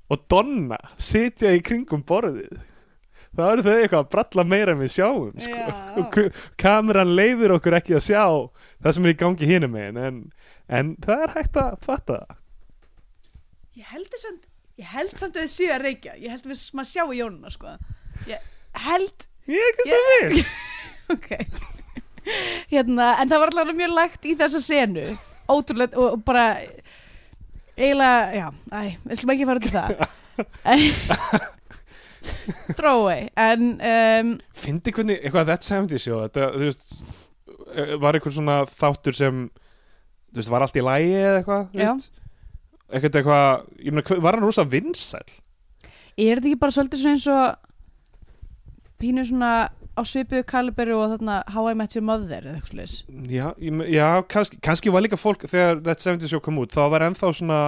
og Donna sitja í kringum borðið þá eru þau eitthvað að bralla meira en við sjáum sko. [LAUGHS] Og
sko,
ku- kameran leifir okkur ekki að sjá það sem er í gangi hinum megin en, en það er hægt að fatta það.
ég held þess að ég held samt að þið séu að reykja ég held að við- maður sjá í jónuna sko ég held,
ég er ekki svo viss
ok [LAUGHS] hérna, en það var allavega mjög lægt í þessa senu ótrúlega og, og bara eiginlega, já, æ, við slum ekki fara til
[LAUGHS]
það [LAUGHS] throw away en um,
fyndi hvernig eitthvað That 70 Show þetta, þú veist eh, var einhver svona þáttur sem þú veist, var allt í lægi eða eitthvað þú
Já.
veist? ekkert eitthvað, ég meina, hve- var hann rosa vinsæll
er þetta ekki bara svolítið svona eins og pínu svona á svipuðu kaliberi og þarna How I Met Your Mother eða eitthvað slags
já, ég me- já kannski, kannski var líka fólk þegar That 70 Show kom út, þá var ennþá svona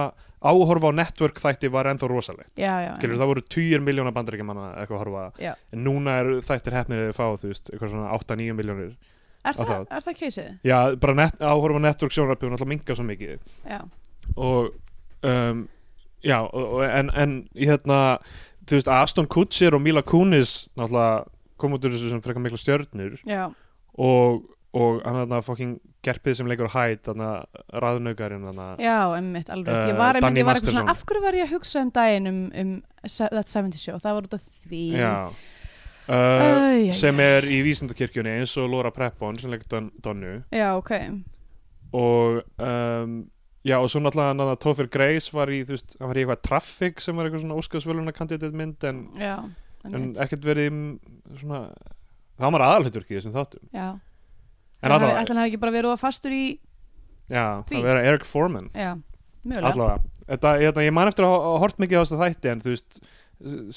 áhorfa á network þætti var ennþá rosalegt
já, já,
Skilur,
einmitt.
það voru 10 miljónar bandaríkja manna eitthvað að horfa,
Já.
en núna er þættir hefnir að fá, þú veist, eitthvað svona 8-9 miljónir
er,
á
það,
það.
er það keisið?
já, bara net, áhorfa á network sjónarpið og náttúrulega minga svo mikið
Já.
og um, já, og, og- en, en hérna, þú veist, Aston Kutcher og Mila Kunis náttúrulega kom út úr þessu sem frekar mikla stjörnur
já,
og, og hann þarna fucking gerpið sem leikur hætt, þarna raðnaukarinn þarna,
já, emmitt, alveg
Eh,
ég var
Danny
einmitt, ég var eitthvað
Masterson.
svona, af hverju var ég að hugsa um daginn um, um se- That 70 Show, það var út af því
já uh,
Æ, æ, æ.
sem er í vísindakirkjunni eins og Laura Prepon sem leikur Don, Donnu
já, ok
og um, já, og svo náttúrulega hann þarna Topher Grace var í, þú veist, hann var í eitthvað Traffic sem var eitthvað svona óskarsvöluna kandidat mynd en
já,
en
einmitt.
ekkert verið mm, svona það var aðalhutverkið í þessum þáttum
já
en
Ætli hann
allavega,
hafi- ætli hann hafi ekki bara verið of fastur í
já,
því.
það verið Eric Foreman
já, mjögulega
allavega, þetta, þetta, ég man eftir að hafa hort mikið á þess þætti en þú veist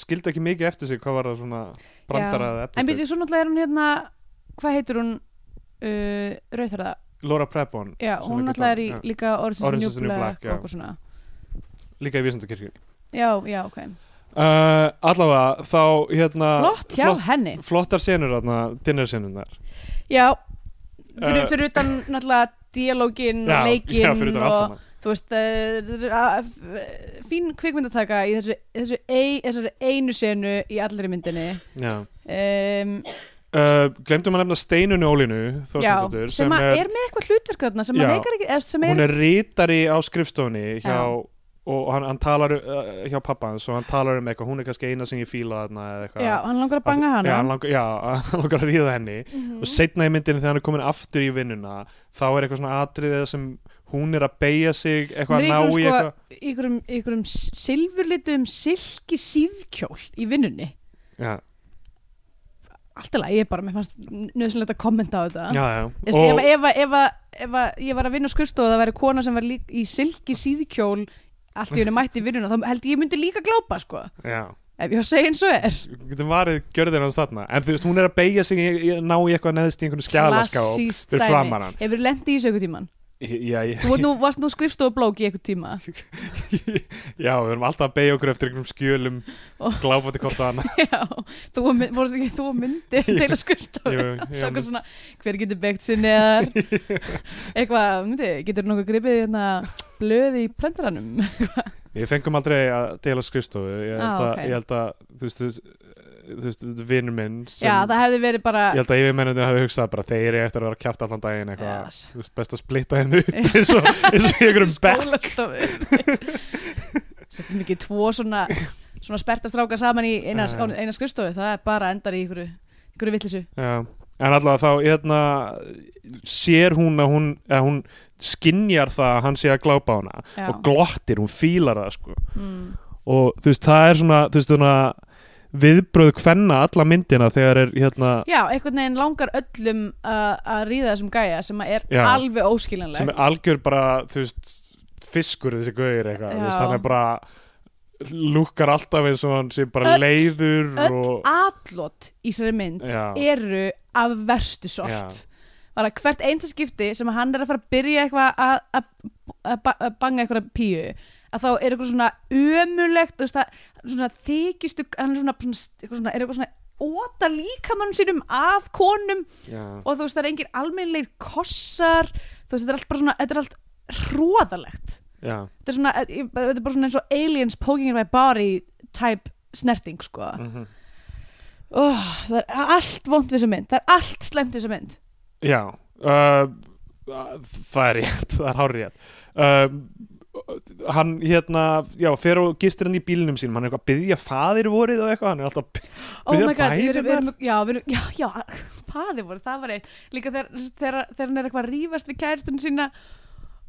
skildi ekki mikið eftir sig hvað var það svona brandara eða
en
eftir sig,
byrju, svo náttúrulega er hún hérna hvað heitir hún uh, rauðhærða
Laura Prepon
Já,
sem
hún
leikur
náttúrulega er í
Don- já,
líka Orange is the New Black
já.
og eitthvað svona
líka í vísindakirkju
Já, já, ok
uh, allavega, þá hérna
Flott, já, henni
flottar senur þarna, dinnersenurnar
Já, fyrir,
Eh,
fyrir utan náttúrulega dialógin
já, [LAUGHS]
og
já, fyrir þetta
leikinn
allt
og
saman
þú veist uh, uh, fín kvikmyndataka í þessu, þessu, ei, þessu einu senu í allri myndinni
já.
um,
Uh, glemdum að nefna Steinunni Ólinu
já,
Þorsteinsdóttur,
sem, að er með eitthvað hlutverk þarna sem
Já.
að leikar ekki eða sem
hún
er,
er rítari á skrifstofunni hjá,
Já.
og hann, hann talar uh, hjá pappa hans og hann talar um eitthvað hún er kannski eina sem ég fíla þarna eða eitthvað
já, hann langar að banga
já,
hana Mhm.
hann langar, já, [LAUGHS] hann langar að ríða henni og setna í myndinu þegar hann er komin aftur í vinnuna þá er eitthvað svona atriðið sem hún er að beigja sig eitthvað að
Hún er í
ná í
einhverjum,
eitthvað
sko, ykkurum, ykkurum silfurlitum silki síðkjól í vinnunni
já,
allt í lagi, ég bara, mér fannst nöðsynlegt að kommenta á þetta
já, já.
Þú Ah. veist, ef, ef, ef, ef, ef að ég var að vinna á skurstofu og það væri kona sem var lík, í silki síðkjól allt í henni mætti í vinnuna, þá held ég ég myndi líka glápa sko,
já.
ef ég var að segja eins og er
Við getum varið gjörðin hans þarna en þú veist, hún er að beigja sig í, í, ná í eitthvað neðst í einhvern skjálaskáp
Klassískt
fyrir
dæmi.
framan hann.
Hefur lendi í þessu einhver tíman
já, já,
Þú varst nú, varst nú skrifstofublók í einhver tíma
[LAUGHS] já, við erum alltaf að beigja okkur eftir einhverjum skjölum
Og-
glápandi hvort að
[LAUGHS]
hana
Já, þú og my- voru ekki þú og myndi deila skrifstofu
Jú, jú,
[LAUGHS] Alltaf
já,
eitthvað svona, hver getur begt
[LAUGHS]
sinni eða eitthvað, myndi, getur nokkuð gripið hérna blöð í prendaranum
Við fengum aldrei að deila skrifstofu ég held,
Ah,
að,
ok.
ég held að, þú veist, þú veist, þú veist vinnur minn sem,
Já, það hefði verið bara
ég held að yfirmennundin hafi hugsað bara þeir eru eftir að vera kjátt allan daginn eitthvað
Yes.
þú veist, best að splitta þeim
[LAUGHS]
upp [LAUGHS] eins og eins og í einhverjum bekk
skólastofu [LAUGHS] Settum ekki tvo svona svona sperta stráka saman í eina,
Já, já.
eina skrifstofu, það er bara endar í einhverju einhverju vittlisu
Já, en allavega þá hérna, sér hún að hún, að hún skinjar það að hann sé að glápa á hana
Já,
og glottir, hún fílar það sko.
mm,
og þú veist, það er svona, þú veist, svona viðbröð kvenna alla myndina þegar er hérna
Já einhvern veginn langar öllum að að ríða þessum gæja sem að er
Já.
alveg
sem
óskiljanlegt
er algjör bara, þú veist fiskur þessi gauðir eitthvað,
Já.
þú veist, hann er bara lúkkar alltaf eins og hann sé bara
Öll-
leiður
Öll
og
atlot í sér mynd
já,
eru af verstu sort bara hvert einsta skipti sem að hann er að fara að byrja eitthvað að- að að ba- að banga eitthvað píu að þá er eitthvað svona ömulegt þú veist, það, svona þykistu hann er svona, svona, eitthvað svona, er eitthvað svona óta líkamannum sínum að konum
já.
og þú veist það er engir almennilegir kossar þú veist þetta er allt bara svona þetta er allt hróðalegt
já.
þetta er svona eh, ég- bara- þetta er bara svona eins og aliens poking in my body type snerting sko
mhm.
oh, það er allt vond við þessa mynd það er allt slemt við þessa mynd
Já uh, Það er rétt, [LAUGHS] það er hár rétt uh, Hann hérna Já, fer og gistir hann í bílnum sínum Hann er eitthvað að byggja faðir vorið og eitthvað Hann er alltaf að
oh
Byrja
my god, við erum, við
bænirnar?
erum, já, við erum, já, já faði voru, það var eitt líka þegar, þegar, þegar hann er eitthvað að rífast við kæristun sína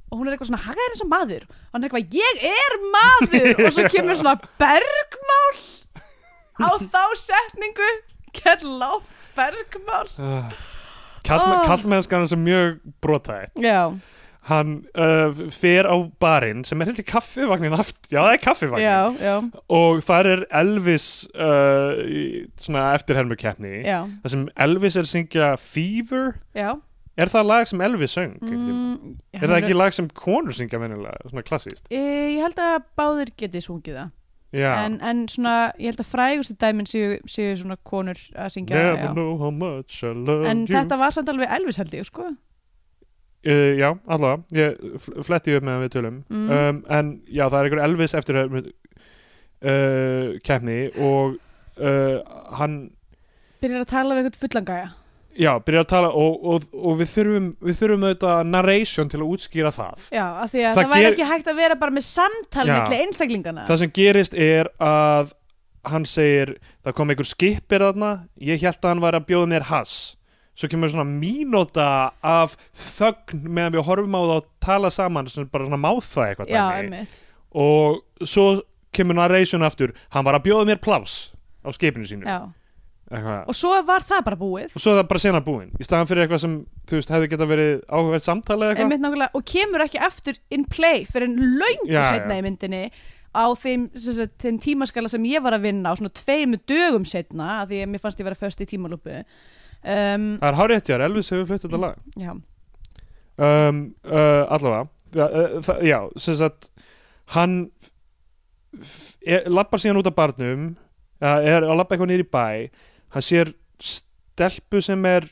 og hún er eitthvað svona hagaði eins og maður og hann er eitthvað, ég er maður og svo kemur svona bergmál á þá setningu get látt bergmál
uh, Kallmennskan
Oh.
oh. kallmennskan er svo mjög brotætt
já,
Hann uh, fer á barinn sem er heldur kaffivagnin aft Já, það er kaffivagnin
já, já,
Og þar er Elvis uh, í- svona eftirhermukeppni
já,
Það sem Elvis er að syngja Fever
já.
Er það lag sem Elvis söng? einhvern tímann?
Mm,
Er það ekki lag sem konur syngja venjulega, svona klassíst?
E, ég held að báðir geti sungið það
Já.
en, en svona, ég held að frægustu dæmin séu, séu svona konur að syngja
Never
já.
know how much I love
En
you.
þetta var samt alveg Elvis held ég sko
Uh, já, allavega. Ég fl- fletti upp meðan við tölum.
Mm.
Um, en já, það er einhver Elvis eftir uh, kemni og uh, hann,
Byrjar að tala við eitthvað fullangæja
já, byrjar að tala og, og, og við þurfum, við þurfum auðvitað narration til að útskýra það.
Já, af því að
Það
það, væri
ger-
ekki hægt að vera bara með samtal
Já.
milli einstaklingana
Það sem gerist er að hann segir, það kom einhver skipir þarna, ég held að hann var að bjóða mér hass. Svo kemur svona mínóta af þögn meðan við horfum á það og tala saman sem er bara svona máþa eitthvað
Já,
dæmi.
einmitt
og svo kemur narration aftur hann var að bjóða mér pláss á skipinu sínu
Já.
Eitthvað.
Og svo var það bara búið
og svo er það bara sena búin í staðan fyrir eitthvað sem þú veist hefði geta verið áhugavert samtala eða eitthvað
einmitt nákvæmlega, Og kemur ekki aftur in play fyrir en löngu
Já,
setna
já.
í myndinni á þeim, sem sagt, þeim tímaskala sem ég var að vinna á svona tveimu dögum setna af því að mér fannst ég vera föst í tímalúpu um,
það er hárið hjá Elvis hefur flutt þetta lag
Já,
um, uh, allavega það, uh, það, já, sem sagt hann f- e, lappar síðan út af barnum eða er að lappa eitthvað niður í bæ hann sér stelpu sem er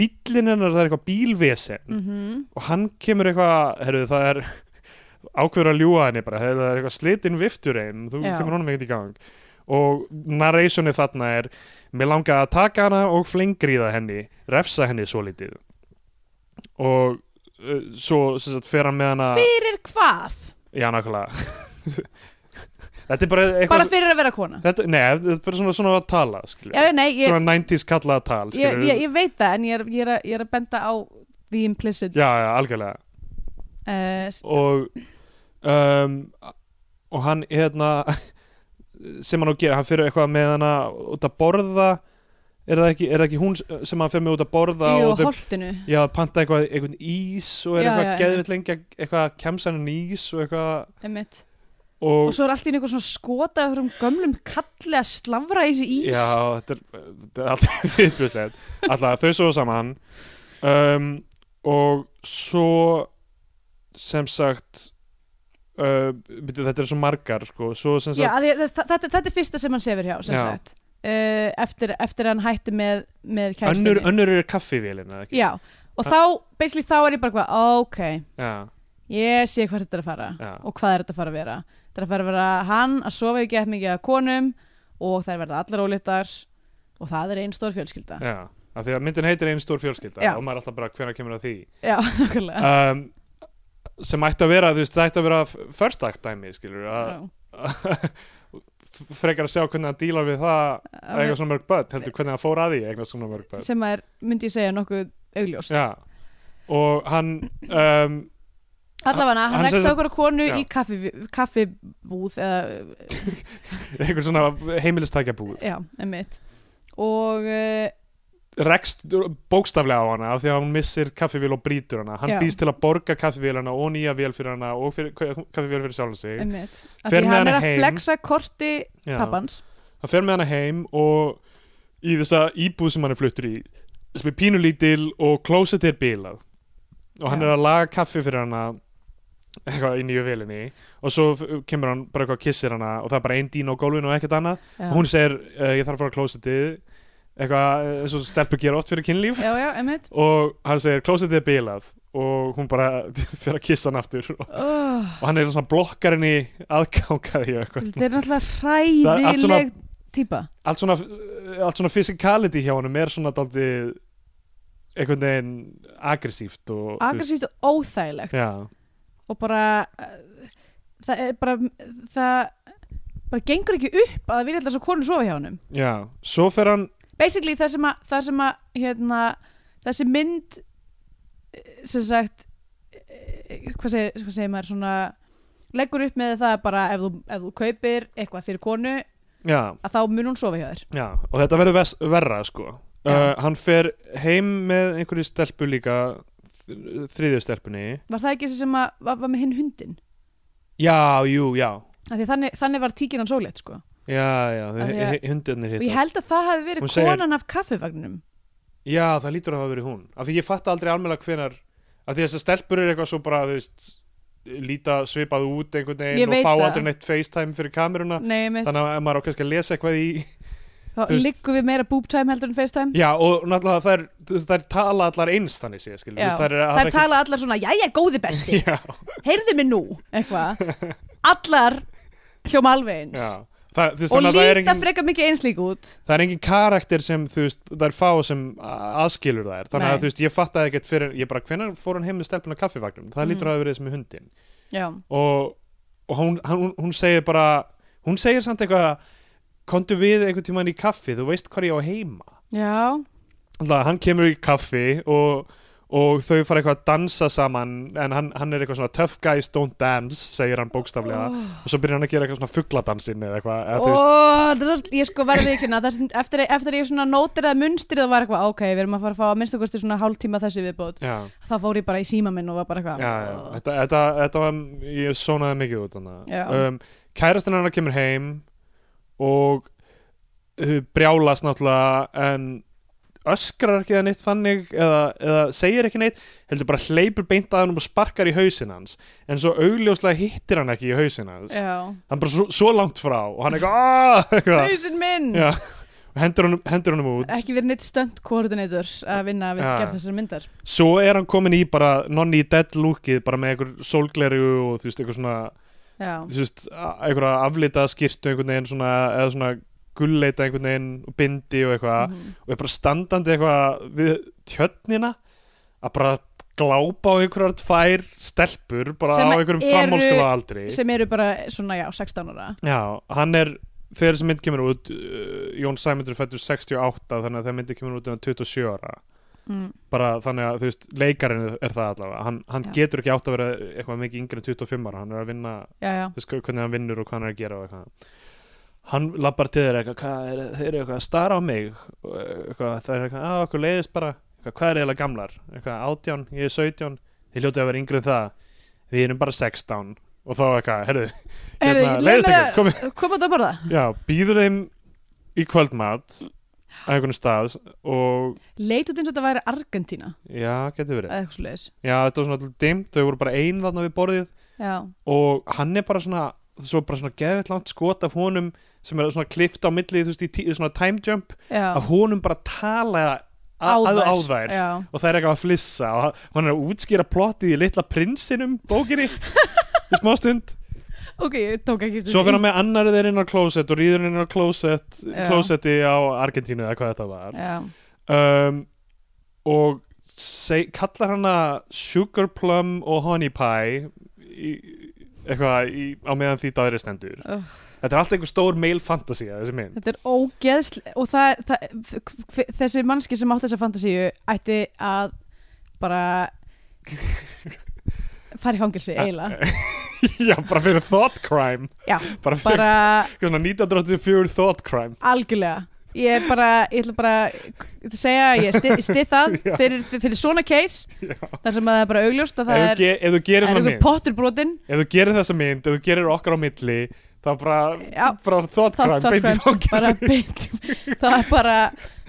bíllinn hennar, það er eitthvað bílvesen
mm
og hann kemur eitthvað herru það er ákveður að ljúa henni bara, herru það er eitthvað slitinn viftur einn þú
Já.
kemur honum ekkert í gang og narrationi þarna er mér langa að taka hana og flengriða henni refsa henni svo litið og uh, svo sem sagt, fer hann með hana
Fyrir hvað?
já nákvæmlega [LAUGHS] þetta er bara eitthvað
Bara fyrir að vera kona
þetta, nei, þetta er bara svona, svona að tala skilur,
Já, nei, ég,
svona 90s kallaða tal
ég,
skilur.
ég, ég veit það en ég er, ég er, að, ég er að benda á the implicit
já, já, algjörlega
eh, s-
og um, og hann hérna sem hann á að gera, hann fyrir eitthvað með hana út að borða er það ekki, er það ekki hún sem að fer mig út að borða
Jú,
og þau
holtinu
Já, panta eitthvað, eitthvað ís og er
Já, já,
eitthvað geðvitt
einmitt.
lengi að- eitthvað kemsanin ís og eitthvað
einmitt.
og,
Og svo er allt í einu eitthvað svona skotað frá um gömlum kalli að slavra í þessi ís
Já, þetta er, þetta er [LAUGHS] alltaf viðbjörnslegt Alltaf þau svo saman um, og svo sem sagt uh, byrju, þetta er svo margar sko, svo sem
Já,
sagt
af því að þess- þa- þetta, þetta er fyrsta sem hann sefur hjá sem
Já.
sagt uh, eftir, eftir að hann hætti með, með kæristinni
önnur, Ah. önnur er kaffivélin eða ekki
Já, og þá, basically þá er ég bara hvað ok,
Já,
ég sé hvað þetta er að fara
já,
og hvað er þetta að fara að vera þetta er að fara að vera hann að sofa ekki eftir mikið að konum og þær verða allar ólítar og það er einn stór fjölskylda
já af því að myndin heitir einn stór fjölskylda
Já.
og maður er alltaf bara hvenær kemur að því
Já, [LAUGHS] nákvæmlega
um, sem ætti að vera, þú veist, það ætti að vera f- first act dæmi, skilur að
Já.
f- [LAUGHS] frekar að sjá hvernig hann dílar við það að eiga svona mörg börn, heldur hvernig hann fór að því að eiga ah, svona mörg börn
sem er, myndi ég segja, nokkuð augljóst
Já, og hann um, [LAUGHS]
allavega hann
Hann
rekst
sem
á okkur konu
Já.
í kaffi, kaffibúð eða,
einhvern svona heimilistækjabúð
já, emmitt og uh,
rekst bókstaflega á hana af því að hann missir kaffivél og brýtur hana hann
Já.
býst til að borga kaffivélana og nýja vél fyrir hana og fyrir, kaffivél fyrir sjálf sig
emmitt af
Fer
því
með
hann
hana
er að
heim.
flexa korti
Já.
pappans
hann fer með hana heim og í þessa íbúð sem hann er fluttur í sem er pínulítil og klósett er bilað og hann
Já.
er að laga kaffi fyrir hana eitthvað í nýju velinni og svo f- kemur hann bara eitthvað og kissir hana og það er bara einn dín á gólfinu og ekkert annað
já.
og hún segir uh, ég þarf að fara á klósettið eitthvað eh, eins og stelpur gera oft fyrir kynlíf
já, já, emmitt
og hann segir klósettið er bilað og hún bara [LAUGHS] fyrir að kissa hann aftur og
oh,
og hann er svona blokkar henni aðgangaði eitthvað
þetta er
Það er
náttúrulega
allt svona-
hræðileg típa
allt svona, eh, allt svona physicality hjá honum er svona daldi einhvern veginn aggressíft og þú
aggressíft og óþægilegt
veist, já,
og bara eh, það er bara það bara gengur ekki upp að það vilja alltaf svo konur sofa hjá honum
já, svo fer hann
basically það sem að, það sem að hérna, þessi mynd eh, sem sagt eh, hvað segir, hvað segir maður svona leggur upp með það bara ef þú, ef þú kaupir eitthvað fyrir konu
já,
að þá mun hún sofa hjá þér
já, og þetta verður vers, verra sko
Já.
uh, hann fer heim með einhverju stelpu líka þ- þriðju stelpunni
var það ekki þessi sem að, var, var með hinn hundin
já, jú, já
Af því þannig, þannig var tíkinan sólétt sko
já, já,
Af því að-
he- hundarnir
og ég
hittast
held að það hafi verið
Hún segir-
konan af kaffivagninum
já, það lítur að hafa verið hún af því ég fatt aldrei almennilega hvenar af því þessar stelpur er eitthvað svo bara, þú veist líta svipað út einhvern
Ég
veginn
veit
og fá
það.
aldrei neitt FaceTime fyrir kameruna
Nei, mitt,
þannig að maður á kannski að lesa eitthvað í
þá
þú veist-
liggum við meira boob time heldur en FaceTime
já og náttúrulega þær, þær tala allar eins þannig sé skilur
Já.
þær,
Þær
[LAUGHS]
tala allar svona, jæja góði besti,
já,
heyrðu mig nú, eitthvað
[LAUGHS]
Allar hljóma alveg eins
já. Það, þú veist,
Og
þannig að það, er
líta
engin,
frekar mikið eins líka út
það er engin karakter sem þú veist, þær fá sem a- aðskilur þær þannig
Nei.
að þú veist, ég fattaði ekkert fyrir ég bara, hvenær fór hann heim með stelpuna kaffivagnum það
Mhm.
lítur að hafa verið þessum með hundin
Já,
og, og hún, hann, hún- hún segir bara hún segir samt eitthvað komdu við einhvern tímann í kaffi, þú veist hvað ég á heima
já,
Alltaf, hann kemur í kaffi og, og þau fara eitthvað að dansa saman en hann, hann er eitthvað svona tough guys don't dance, segir hann bókstaflega og svo byrjar hann að gera eitthvað svona fuggladansin eða eitthvað, eða,
Ó,
þú veist,
það er svo, ég sko verði ekki hérna þess- eftir, eftir að ég svona nótir að munstrið og var eitthvað, "Ah, ok, við erum að fara að fá að minnstu kosti svona hálftíma þessu viðbót,
já,
þá fór ég bara í síma minn og var bara eitthvað
já, já þetta, þetta, þetta var, ég sónaði mikið út
Já.
þannig um, kærastinn hann kemur heim og uh, brjálast náttúrulega en öskrar ekki eða neitt þannig eða, eða segir ekki neitt heldur bara hleypur beint að hann og sparkar í hausin hans en svo augljóslega hittir hann ekki í hausin hans
já.
hann bara svo, svo langt frá og hann eitthvað, "Ah!" [LAUGHS] eitthvað
Hausinn minn!
Já. og hendur honum, hendur honum út
Ekki verið neitt stönd koordinator að vinna við
Já.
gerð þessar myndar
svo er hann komin í bara nonni dead lookið bara með einhver sólgleru og þú veist, einhver svona
Já,
þú veist, a- einhverja aflita skýrtu einhvern veginn svona, eða svona gulleita einhvern veginn og bindi og eitthvað
Mhm.
og er bara standandi eitthvað við tjötnina að bara glápa á einhverjar tvær stelpur bara
Sem
á einhverjum
eru-
framhálskóla aldri
sem eru bara svona, já, 16 ára
Já, hann er þegar þessi mynd kemur út uh, Jón Sæmundur fættur 68 þannig að þegar myndi kemur út er hann 27 ára
mm.
bara þannig að þú veist, leikarinn er það allavega, hann, hann
Já.
getur ekki átt að vera eitthvað mikið yngri en 25 ára, hann er að vinna
Já, já,
þú veist, hvernig hann vinnur og hvað hann er að gera og eitthvað hann lappar til þeirra eitthvað, hvað er, þeir eru eitthvað að stara á mig og eh, eitthvað, það er eitthvað, að okkur leiðist bara eitthvað, hvað er eiginlega gamlar, eitthvað átján ég er sautján, þið hljótið að vera yngri en það við erum bara sextán og þá eitthvað, herru,
Heyrðu,
Hérna,
leyfðu
leiðist
mér
ykkur, komið.
að- Kom út að borða
já, býður þeim í kvöldmat að einhvern stað og
Leit út eins og þetta væri Argentína
já, getur verið
eða eitthvað svoleiðis
já, þetta var svona alltaf dimt, þau voru bara ein þarna við borðið
Já,
og hann er bara svona svo bara svona geðvitt langt skot af honum sem er svona klift á milli þú veist, í tí, svona time jump,
já
að honum bara tala að, að á þær
Já,
og þær er eitthvað að flissa og hann er að útskýra plottið í litla prinsinum
[LAUGHS]
bókinni í smástund
ok, ég tók ekki eftir
svo
því.
fyrir hann með annar þeir inn á klósett og rýður hann inn á klósett
Já.
klósetti á Argentínu eða hvað þetta var
Já,
um, og seg, kallar hana Sugar Plum og Honey Pie í, eitthvað í, á meðan því dagri stendur
Ugh.
þetta er alltaf einhver stór male fantasía þessi
[LAUGHS]
mynd
þetta er ógeðslega og það, er- það, f- þessi mannski sem átt þessa fantasíu ætti að
[LAUGHS]
bara fara í fangilsi
Ah.
eiginlega
já, bara fyrir thought crime
Já,
bara fyrir
bara
bara... 1984 thought crime
algjörlega ég er bara, ég ætla bara að segja, að ég styð styð
[LAUGHS]
það fyrir, fyrir svona case þar sem að það er bara augljóst að það
ef,
er,
þú ge- ef þú
er
gerir svona
einhver
mynd
pottur brotin
ef þú gerir þessa mynd, ef þú gerir okkar á milli þá bara,
Já.
bara thought crime
það,
beint í
bara,
fangelsi.
beint, [LAUGHS] það er bara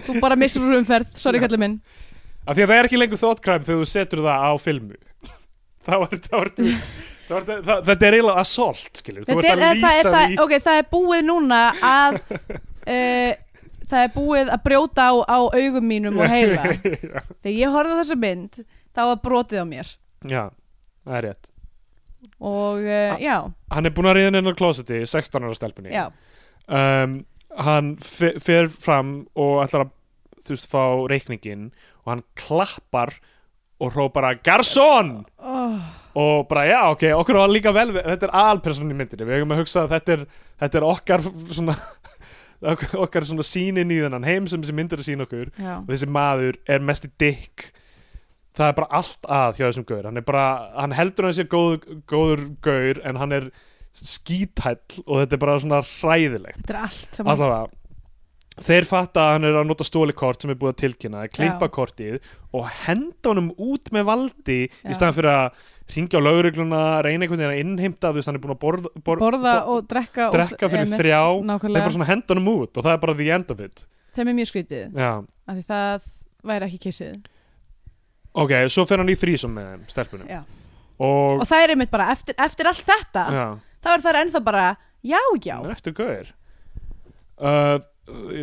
þú bara missur úr umferð, sorry kallið minn
af því að það er ekki lengur thought crime þegar þú setur það á filmu [LAUGHS] þá er þá ertu- þá ertu- það- þetta er eiginlega assault skilur, þú ert
Þetta
að
er, það,
lýsa
er, það,
því
ok, það er búið núna
[LAUGHS]
að uh, það er búið að brjóta á, á augum mínum og
[LAUGHS]
heila þegar ég horfði á þessa mynd þá var brotið á mér
já, það er rétt
og
Ah.
uh, já,
hann er búin að ríða inn á klósiti 16 ára stelpunni
já,
um, hann fe- fer fram og ætlar að þú veist fá reikningin og hann klappar og hrópar að Garson
oh,
og bara já ok, okkur var líka vel við- þetta er alpersonin í myndinni, við hefum að hugsa að þetta er, þetta er okkar svona [LAUGHS] ok- okkar svona sínin í þennan heim sem þessi myndir að sína okkur
já.
og þessi maður er mest í dick það er bara allt að hjá þessum gaur hann er bara, hann heldur hann sé góð, góður gaur en hann er skíthæll og þetta er bara svona hræðilegt
þetta er allt saman
allavega þeir fatta að hann er að nota stólikort sem er búið að tilkynna, klippa
Já.
kortið og henda honum út með valdi
Já.
í staðan fyrir að ringja á laurugluna reyna einhvern veginn að innheimta þú veist hann er búin að borða, borða,
borða og drekka og
drekka fyrir
einmitt,
þrjá þeir
nákvæmlega,
bara svona henda honum út og það er bara the end of it
þeim er mjög skrítið
Já.
af því það væri ekki kissið
ok, svo fer hann í þrísum með þeim stelpunum
Já.
og,
og það er einmitt bara, eftir, eftir allt þetta
já,
þá er það ennþá bara, já, já
það er eftir gaur uh,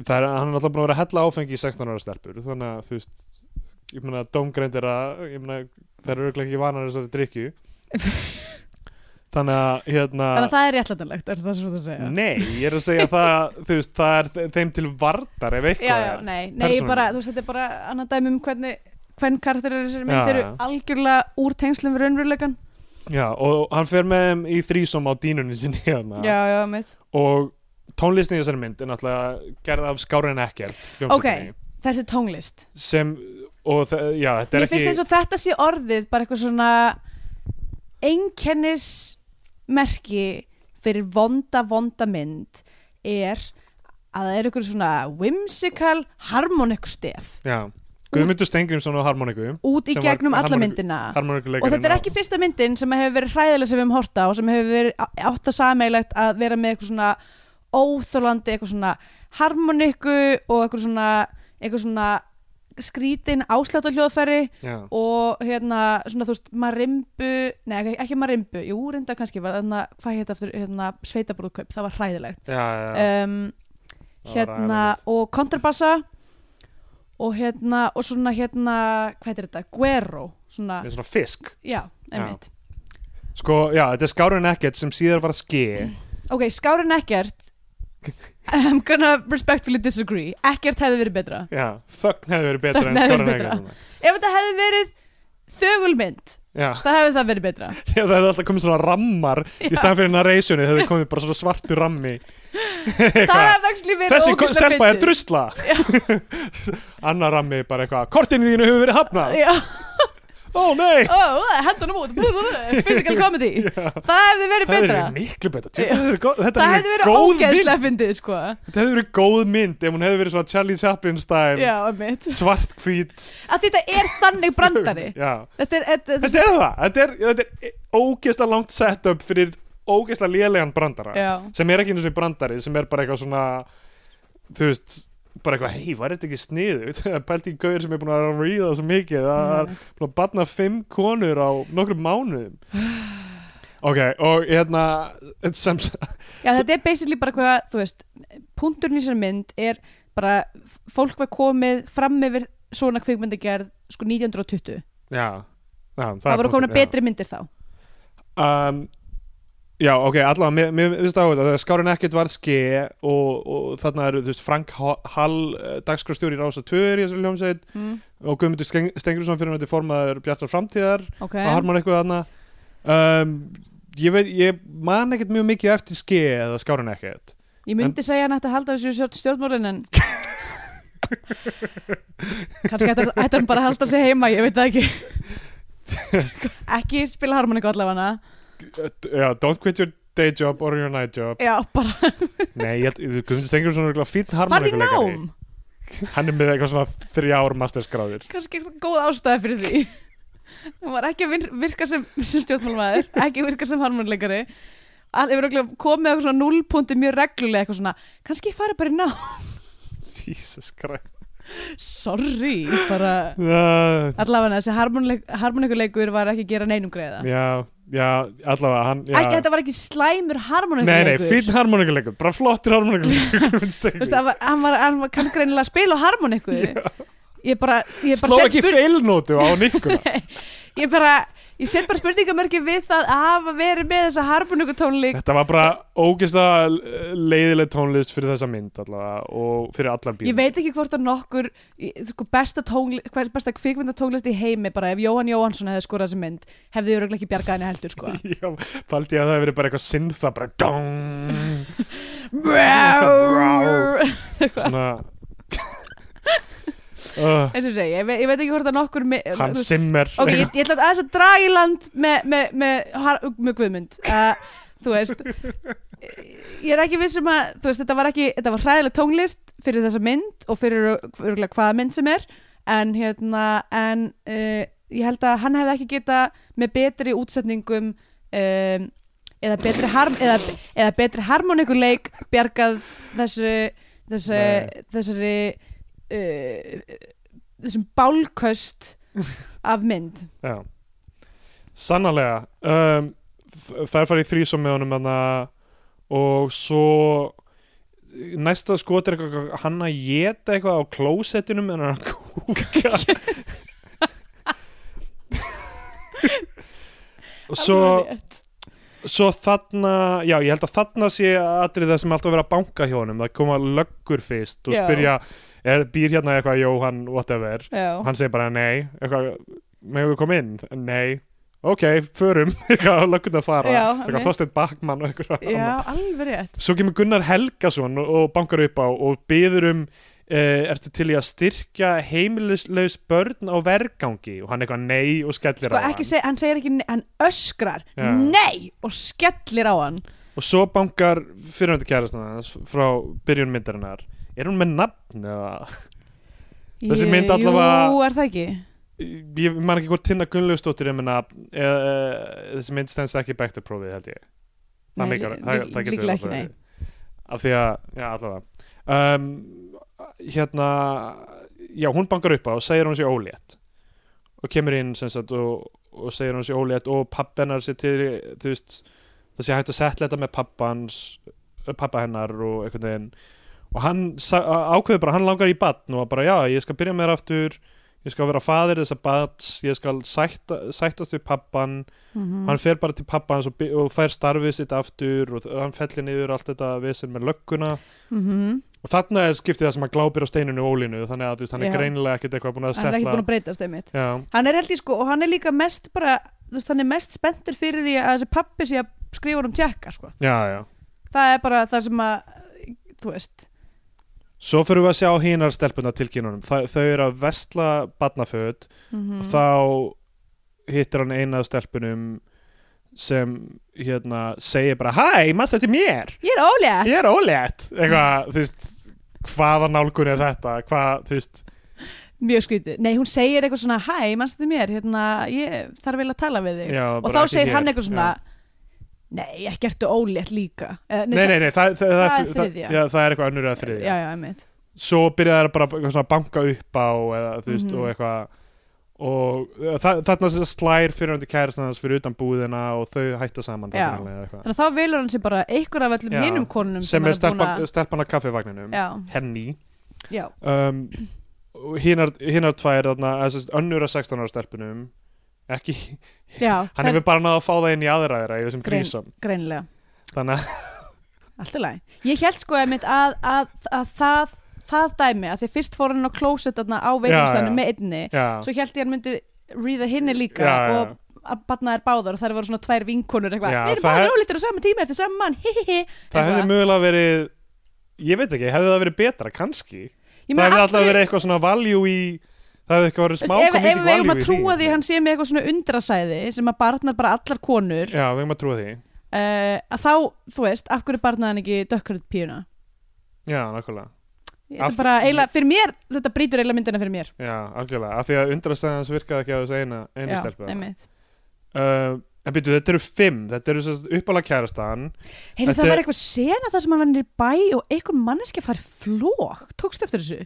það er, hann er alltaf búin að vera að hella áfengi í 16 ára stelpur þannig að þú veist ég meina dómgreind er að ég meina þær eru örugglega ekki vanar þessari drikju þannig að hérna
þannig að það er réttlætanlegt, er það svo þú að segja
nei, ég er að segja
[LAUGHS]
það þú veist, það er þe- þeim til varnar ef eitthvað
já, já, nei, nei ég
persónulega.
bara, þú veist, þetta er bara annað dæmi um hvernig hvern karakter er þessari
Já,
mynd eru
já.
algjörlega úr tengslum við raunveruleikan
er já, og hann fer með þeim í þrísom á dínunni sinni hérna
já, mitt
og tónlistin í þessari mynd er náttúrulega gerð af Skárin Ekkert hljómsveitinni,
þessi tónlist
sem, og þe- já, þetta er
mér
ekki
finnst eins og þetta sé orðið bara eitthvað svona einkennismerki fyrir vonda, vonda mynd er að það er eitthvað svona whimsical harmonic stef
já, Guðmundur Steingrímsson og Harmoniku
út í
Sem var
gegnum alla
harmonic-
myndina og
harmonikuleikarinn
þetta er ekki fyrsta myndin sem hefur verið hræðileg sem við höfum horta á sem hefur verið á- átt að sameilegt að vera með eitthvað svona óþólandi eitthvað svona harmoniku og eitthvað svona, eitthvað svona skrítin áslátt á hljóðfæri
já,
og hérna svona þú veist marimbu, nei ekki- ekki marimbu jú reynda kannski, var, hérna, hvað hétt aftur hérna, sveitabrúðkaup, það var hræðilegt
já, já, já.
um,
Það var
hérna
agalegt.
og kontrabassa og hérna og svona hérna, hvað er þetta, guero svona,
Þetta er svona fisk
já, einmitt
sko, já, þetta er Skárin Ekkert sem síðar var að ski
Mm. ok, skárin ekkert I'm gonna respectfully disagree ekkert hefði verið betra
já, þögn hefði verið betra
Þögn
en
hefði verið
Skárin
betra.
Ekkert núna.
ef þetta hefði verið þögulmynd
já, [LAUGHS]
það hefði það verið betra
já, það hefði alltaf komið svona rammar í staðan fyrir narrationið, það hefði komið bara svona svartu rammi
[LAUGHS] það hefði actually verið
þessi
ógeðslega
stelpa er
fyndið.
drusla [LAUGHS] annar rammi bara eitthvað, kortinu þínu hefur verið hafnað
Já,
Ó nei
oh, hendunum út, blú, blú,
[LAUGHS]
blú, physical comedy það hefði verið
Það
betra
hefði verið miklu betra Þetta hefði verið, góð, þetta
það
hefði verið
hefði verið
góð mynd
ógeðslega fyndið sko.
Þetta hefði verið góð mynd ef hún hefði verið svona Charlie Chaplin style
já, mitt
svart hvít
að þetta er þannig
[LAUGHS]
brandari
Já
þetta er, þetta,
Þetta er það Þetta er, þetta er ógeðslega langt setup fyrir ógeðslega lélegan brandara
já,
sem er ekki eins og brandari sem er bara eitthvað svona þú veist bara eitthvað, hei, var þetta ekki sniðugt? [LAUGHS] Það er pælt í gauður sem er búin að vera að ríða svo mikið það
Mm.
er búin að batna fimm konur á nokkrum mánuðum ok, og hérna sem,
já, þetta er basically bara hvað þú veist, punkturinn í sér mynd er bara, f- fólk var komið fram yfir svona kvikmyndagerð sko 1920,
[LAUGHS] já, já
það voru komin
punktur, já.
betri myndir þá
um, Já, ok, allavega, mér- mér finnst það áhuga Skárin ekkert varð ske og, og þarna eru, þú veist, Frank Ho- Hall eh, dagskrárstjóri í Rása 2 er í þessari hljómsveit
mm,
og Guðmundur Steng- Stengriðsson fyrir þetta formaður Bjartar framtíðar
ok,
og harmar eitthvað þarna um, ég, veit, ég man ekkert mjög mikið eftir ske eða Skárin ekkert
ég myndi segja hann ætti að halda þessu stjórnmálin
[LAUGHS]
en kannski ætti ætti hann bara að halda sig heima ég veit það ekki
[LAUGHS]
ekki spila harmoniku allavega
Já, don't quit your day job or your night [LAUGHS] job
já, bara,
Nei, ég, held- Guðmundur Stengriðsson er eitthvað fínn
farði í
harmonikuleikari
nám
Hann er með eitthvað svona þrjár masterskráður
kannski er góð ástæða fyrir því hún var ekki að vir- virka sem, sem stjórnmálmaður, ekki virka sem harmonleikari að yfir okkur komið eitthvað svona núlpunti mjög reglulega eitthvað svona kannski ég fari bara í ná,
Jesus Christ
[LAUGHS] sorry bara,
uh,
allavega þessi harmonleik, harmonleikuleikur var ekki að gera neinum greiða
Já, já, allavega hann já.
Æ, þetta var ekki slæmur
Nei, nei,
harmonleikuleikur
fínn harmonikuleikur, bara flottur
[LAUGHS]
harmonikuleikur
Veistu, hann, var, hann, var, hann var kann greinilega að spila á harmoniku ég bara, ég bara
Sló
set
ekki
spurning-
feilnótu á
[LAUGHS]
nikkuna
ég bara, ég set bara spurningamörki við það að hafa verið með þessa harmonikutónleik
Þetta var bara ógeðslega eh, leiðileg tónlist fyrir þessa mynd allavega og fyrir allar bíl
Ég veit ekki hvort að nokkur í- sko, besta, tónli, hvað- besta kvikmyndatónlist í heimi bara ef Jóhann Jóhannsson hefði skorað þessi mynd hefði þau ekki bjargað henni heldur sko
[LAUGHS] Já, faldi ég að það hefur verið bara eitthvað syntha bara dong svona
[LAUGHS]
uh,
eins og ég segi, ég, ve ég veit ekki hvort að nokkur me-
Hann
þú-
Simmer
ok, ég, ég ætla að aðeins að draga í land með, með, með, har- með Guðmund uh, þú veist ég er ekki vissum að þú veist, þetta var ekki, þetta var hræðileg tónlist fyrir þessa mynd og fyrir örugglega hvaða mynd sem er en hérna, en uh, ég held að hann hefði ekki geta með betri útsetningum um, eða betri harm eða, eða betri harmonikuleik bjargað þessu þessu,
Nei.
þessari uh, þessum bálköst af mynd
Já Sannarlega um, þ- Þær farið í þrísom með honum hana, og svo næsta skot er eitthvað hann að geta eitthvað á klósettinum en hann er að
[LAUGHS]
kúka [LAUGHS] og svo,
Alveg rétt.
svo þarna já ég held að þarna sé atrið það sem er alltaf verið að banka hjá honum það koma löggur fyrst og
Já.
spyrja er, býr hérna eitthvað Jóhann whatever
Já.
og hann segir bara nei eitthvað, megum við koma inn? Nei, ok, förum [LAUGHS] eitthvað, löggund að fara
Já, einmitt.
eitthvað, Þorsteinn Bakman og eitthvað annað.
Já, alveg rétt
svo kemur Gunnar Helgason og, og bankar upp á og byður um Uh, ertu til í að styrkja heimilislaus börn á vergangi og hann eitthvað nei og skellir á
Sko
hann
ekki seg, hann segir ekki, nei, hann öskrar
Já.
Nei, og skellir á hann
og svo bankar fyrirhandi kærastan hans frá byrjun myndarinnar er hún með nafn eða Þessi
Ég-
mynd allavega-
Jú, er það ekki?
ég man ekki hvort Tinna Gunnlaugustóttir er með nafn eða, eða þessi mynd stendst ekki bektarprófið held ég það
Nei,
meikar,
lí-
það,
lí-
það getur
líklega ekki,
allavega
nei.
verið. af því að, já allavega um, hérna já, hún bankar upp á og segir hún sér ólétt og kemur inn sem sagt og, og segir hún sér ólétt og pappennar sér til, þú veist það sé hægt að setla þetta með pappans pappa hennar og einhvern veginn og hann sa- ákveður bara, hann langar í batn og bara já, ég skal byrja með þér aftur ég skal vera faðir þessa bats ég skal sætta, sættast við pappan
Mm.
hann fer bara til pappa hans og, by- og fær starfið sitt aftur og þ- hann fellir niður allt þetta vesen með lögguna
mm
og þarna er skiptið það sem hann glápir á steininu og ólínu þannig að þú veist, hann
Já.
er greinilega ekkert eitthvað búin að
Hann er ekki
setla
búin að breytast einmitt
Já,
Hann er held ég sko, og hann er líka mest bara þú veist, Hann er mest spenntur fyrir því að þessi pappi sé að skrifa honum tjekka sko.
já, já
Það er bara það sem að Þú veist
Svo fyrir við að sjá Mhm. hinar stelpunar tilkynunum Þa, þau eru að vestla barnaföt
mm
þá hittir hann eina af stelpunum sem hérna segir bara Hæ, mannstu eftir mér?
Ég er ólega
Ég er ólétt Eitthvað, þú veist, hvaða nálgun er þetta? Hvað, þú veist
Mjög skrítið Nei, hún segir eitthvað svona Hæ, mannstu mér, hérna, ég þarf vel að tala við þig
já,
Og þá
bara ekki
segir hann
hér.
eitthvað svona Nei, ekki ertu ólétt líka Eh,
Nei, nei, nei, það, það,
Það er
það,
þriðja.
já, það er eitthvað önnur eða
Já,
þriðja
já, einmitt
svo byrjaði það bara eitthvað svona að banka upp á eða þú veist
Mhm.
og eitthvað og uh, þa þarna sem slær fyrirhandi kærastan hans fyrir utan búðina og þau hætta saman
Já.
þarna eða eitthvað.
Þannig að þá velur hann sér bara einhver af öllum
Já.
hinum konunum
sem er
hann búinn
stelpan, stelpan að kaffivagninum
að-
henni
Já, já,
um, og hinar, hinar tvær þarna, eða, sem sagt, önnur að 16 ára stelpunum ekki,
já
hann
það er
hefur bara náða að fá það inn í aðra þeirra í þessum
Grein.
grísum
greinilega
þannig að
Allt í lagi. Ég held sko einmitt að, að, að það, það dæmi að því fyrst fór hann á klósett þarna
Já,
á
já.
veitingstæðinu með einni
já,
svo held ég hann myndi ríða hinni líka
Já, já, já.
og að batna þær báðar og þær voru svona tvær vinkonur eitthvað
Já,
Við erum
það-
báðar ólítur á sama tíma eftir sama mann hihihi
það hefði
eitthvað.
mögulega verið ég veit ekki, hefði það verið betra kannski
Ég
það
meina,
hefði
af
alltaf
hverju-
verið eitthvað svona value í það hefði eitthvað verið smá
Veist,
hvað
ef, ef
mikið
við eigum
value í
að trúa því að hann sé með eitthvað svona undrasæði sem að barnar bara allar konur uh,
já, við eigum að trúa því
að þá, þú veist, af hverju barnaði hann ekki dökkröð píuna
já, nákvæmlega,
Þetta
Af-
bara eiginlega, fyrir mér, þetta brýtur eiginlega myndina fyrir mér
já, algjörlega af því að undrastæðan hans virkaði ekki á þessu eina, einu stelpu þarna.
einmitt.
uh, en byrju, þetta eru fimm þetta eru uppalega kærastan
Heyrðu,
Þetta-
það var eitthvað sena það sem hann var nýr bæ og einhvern manneskja fari flók tókst eftir þessu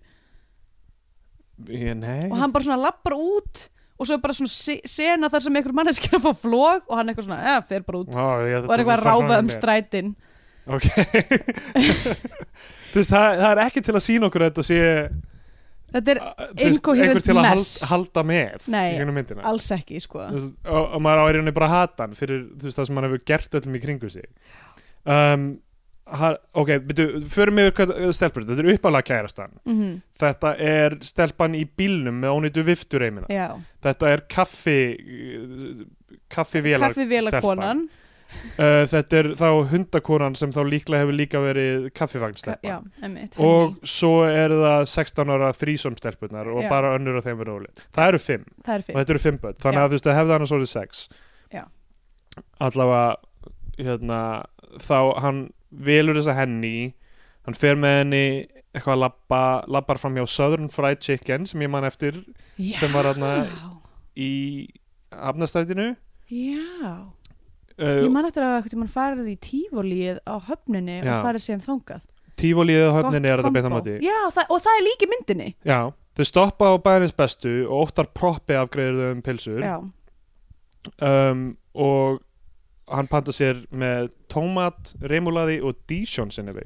ég, nei,
og hann bara svona lappar út og svo er bara svona se- sena þar sem einhvern manneskja er að fá flók og hann eitthvað svona, eða, fer bara út
Ó, ég,
og er eitthvað að ráfa um strætin
ok [LAUGHS] þú veist, það, það er ekki til að sína okkur að þetta sé
Þetta er
uh, þú veist,
Incoherent
einhver til að hal,
mess.
halda með
Nei.
í gegnum myndina
alls ekki, sko
Þú veist, og, og maður á í rauninni bara að hata hann fyrir þú veist, það sem hann hefur gert öllum í kringu sig um, ha, ok, byrju, förum yfir hvað uh, stelpur, þetta er uppálega kærastan
mm
þetta er stelpan í bílnum með ónýtu viftureimina
Já,
þetta er kaffi kaffivélar
kaffivelakonan
uh, þetta er þá hundakonan sem þá líklega hefur líka verið
Já,
kaffivagnsteppan
einmitt,
og
henni.
svo er það 16 ára þrísom stelpunar og
Já.
bara önnur af þeim verið ólega það eru fimm
það er
og
fyrir
þetta eru fimm börn þannig
Já.
að þú veist að hefði annars orðið sex
Já.
allavega hérna, þá hann velur þessa henni hann fer með henni eitthvað að labba, labbar fram hjá Southern Fried Chicken sem ég man eftir
Já,
sem var þarna í hafnastætinu
já
uh,
Ég man eftir að hvernig mann farið í tífólíið á höfninni
Já.
og farið síðan þangað.
tífólíðið á
Gott
höfninni er þetta
kombó.
beint á móti
Já, það, og það er líki myndinni.
já, þau stoppa á bæðinins bestu og óttar proppi af greiðum pilsur
Já,
um, og hann panta sér með tómat, reymulaði og Dijon sinnebi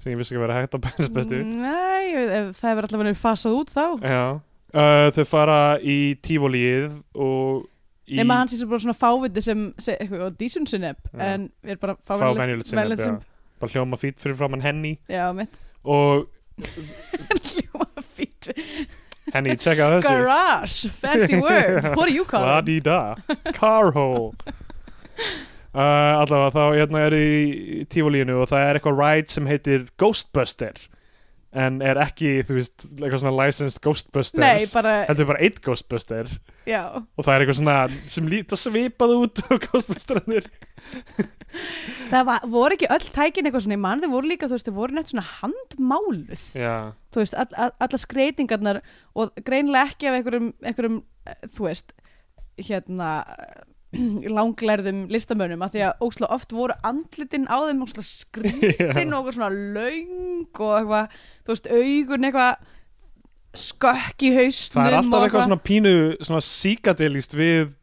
sem ég vissi ekki að vera hægt á bæðins bestu
Mm. Nei, ef það hefur alltaf verið fasað út þá.
já uh, þau fara í tífólíð og í
Nei, maður hans er bara svona fáviti sem, sem eitthvað, og dísun sinneb,
Já.
en við erum bara
fá venjulegt sinneb
venjulegt
já. bara hljóma fít fyrir framann henni
Já, mitt. [LAUGHS]
og
Hljóma fýtt.
henni, tjekka þessu
Garage,
[LAUGHS]
fancy word, what do you call it?
La-di-da, carhole
[LAUGHS]
uh, Allavega þá hérna er í í tífólínu og það er eitthvað ride sem heitir Ghostbuster en er ekki, þú veist, eitthvað svona licensed Ghostbusters
Nei, bara,
Þetta er bara eitt Ghostbuster
já.
og það er eitthvað svona sem líta svipað út [LAUGHS] á Ghostbusternir
Það var, voru ekki öll tækin eitthvað svona í mann, þau voru líka, þú veist, þau voru neitt svona handmáluð.
Já,
þú veist, all, all, allar skreitingarnar og greinilega ekki af einhverjum, einhverjum eh, þú veist, hérna eh, [CLEARS THROAT] langlærðum listamönnum af því að óslega oft voru andlitin á þeim óslega
[LAUGHS]
skrítin og eitthvað svona löng og eitthvað, þú veist, augun eitthvað skökk í haustnum
það er alltaf
og
eitthvað svona pínu svona síkadilist við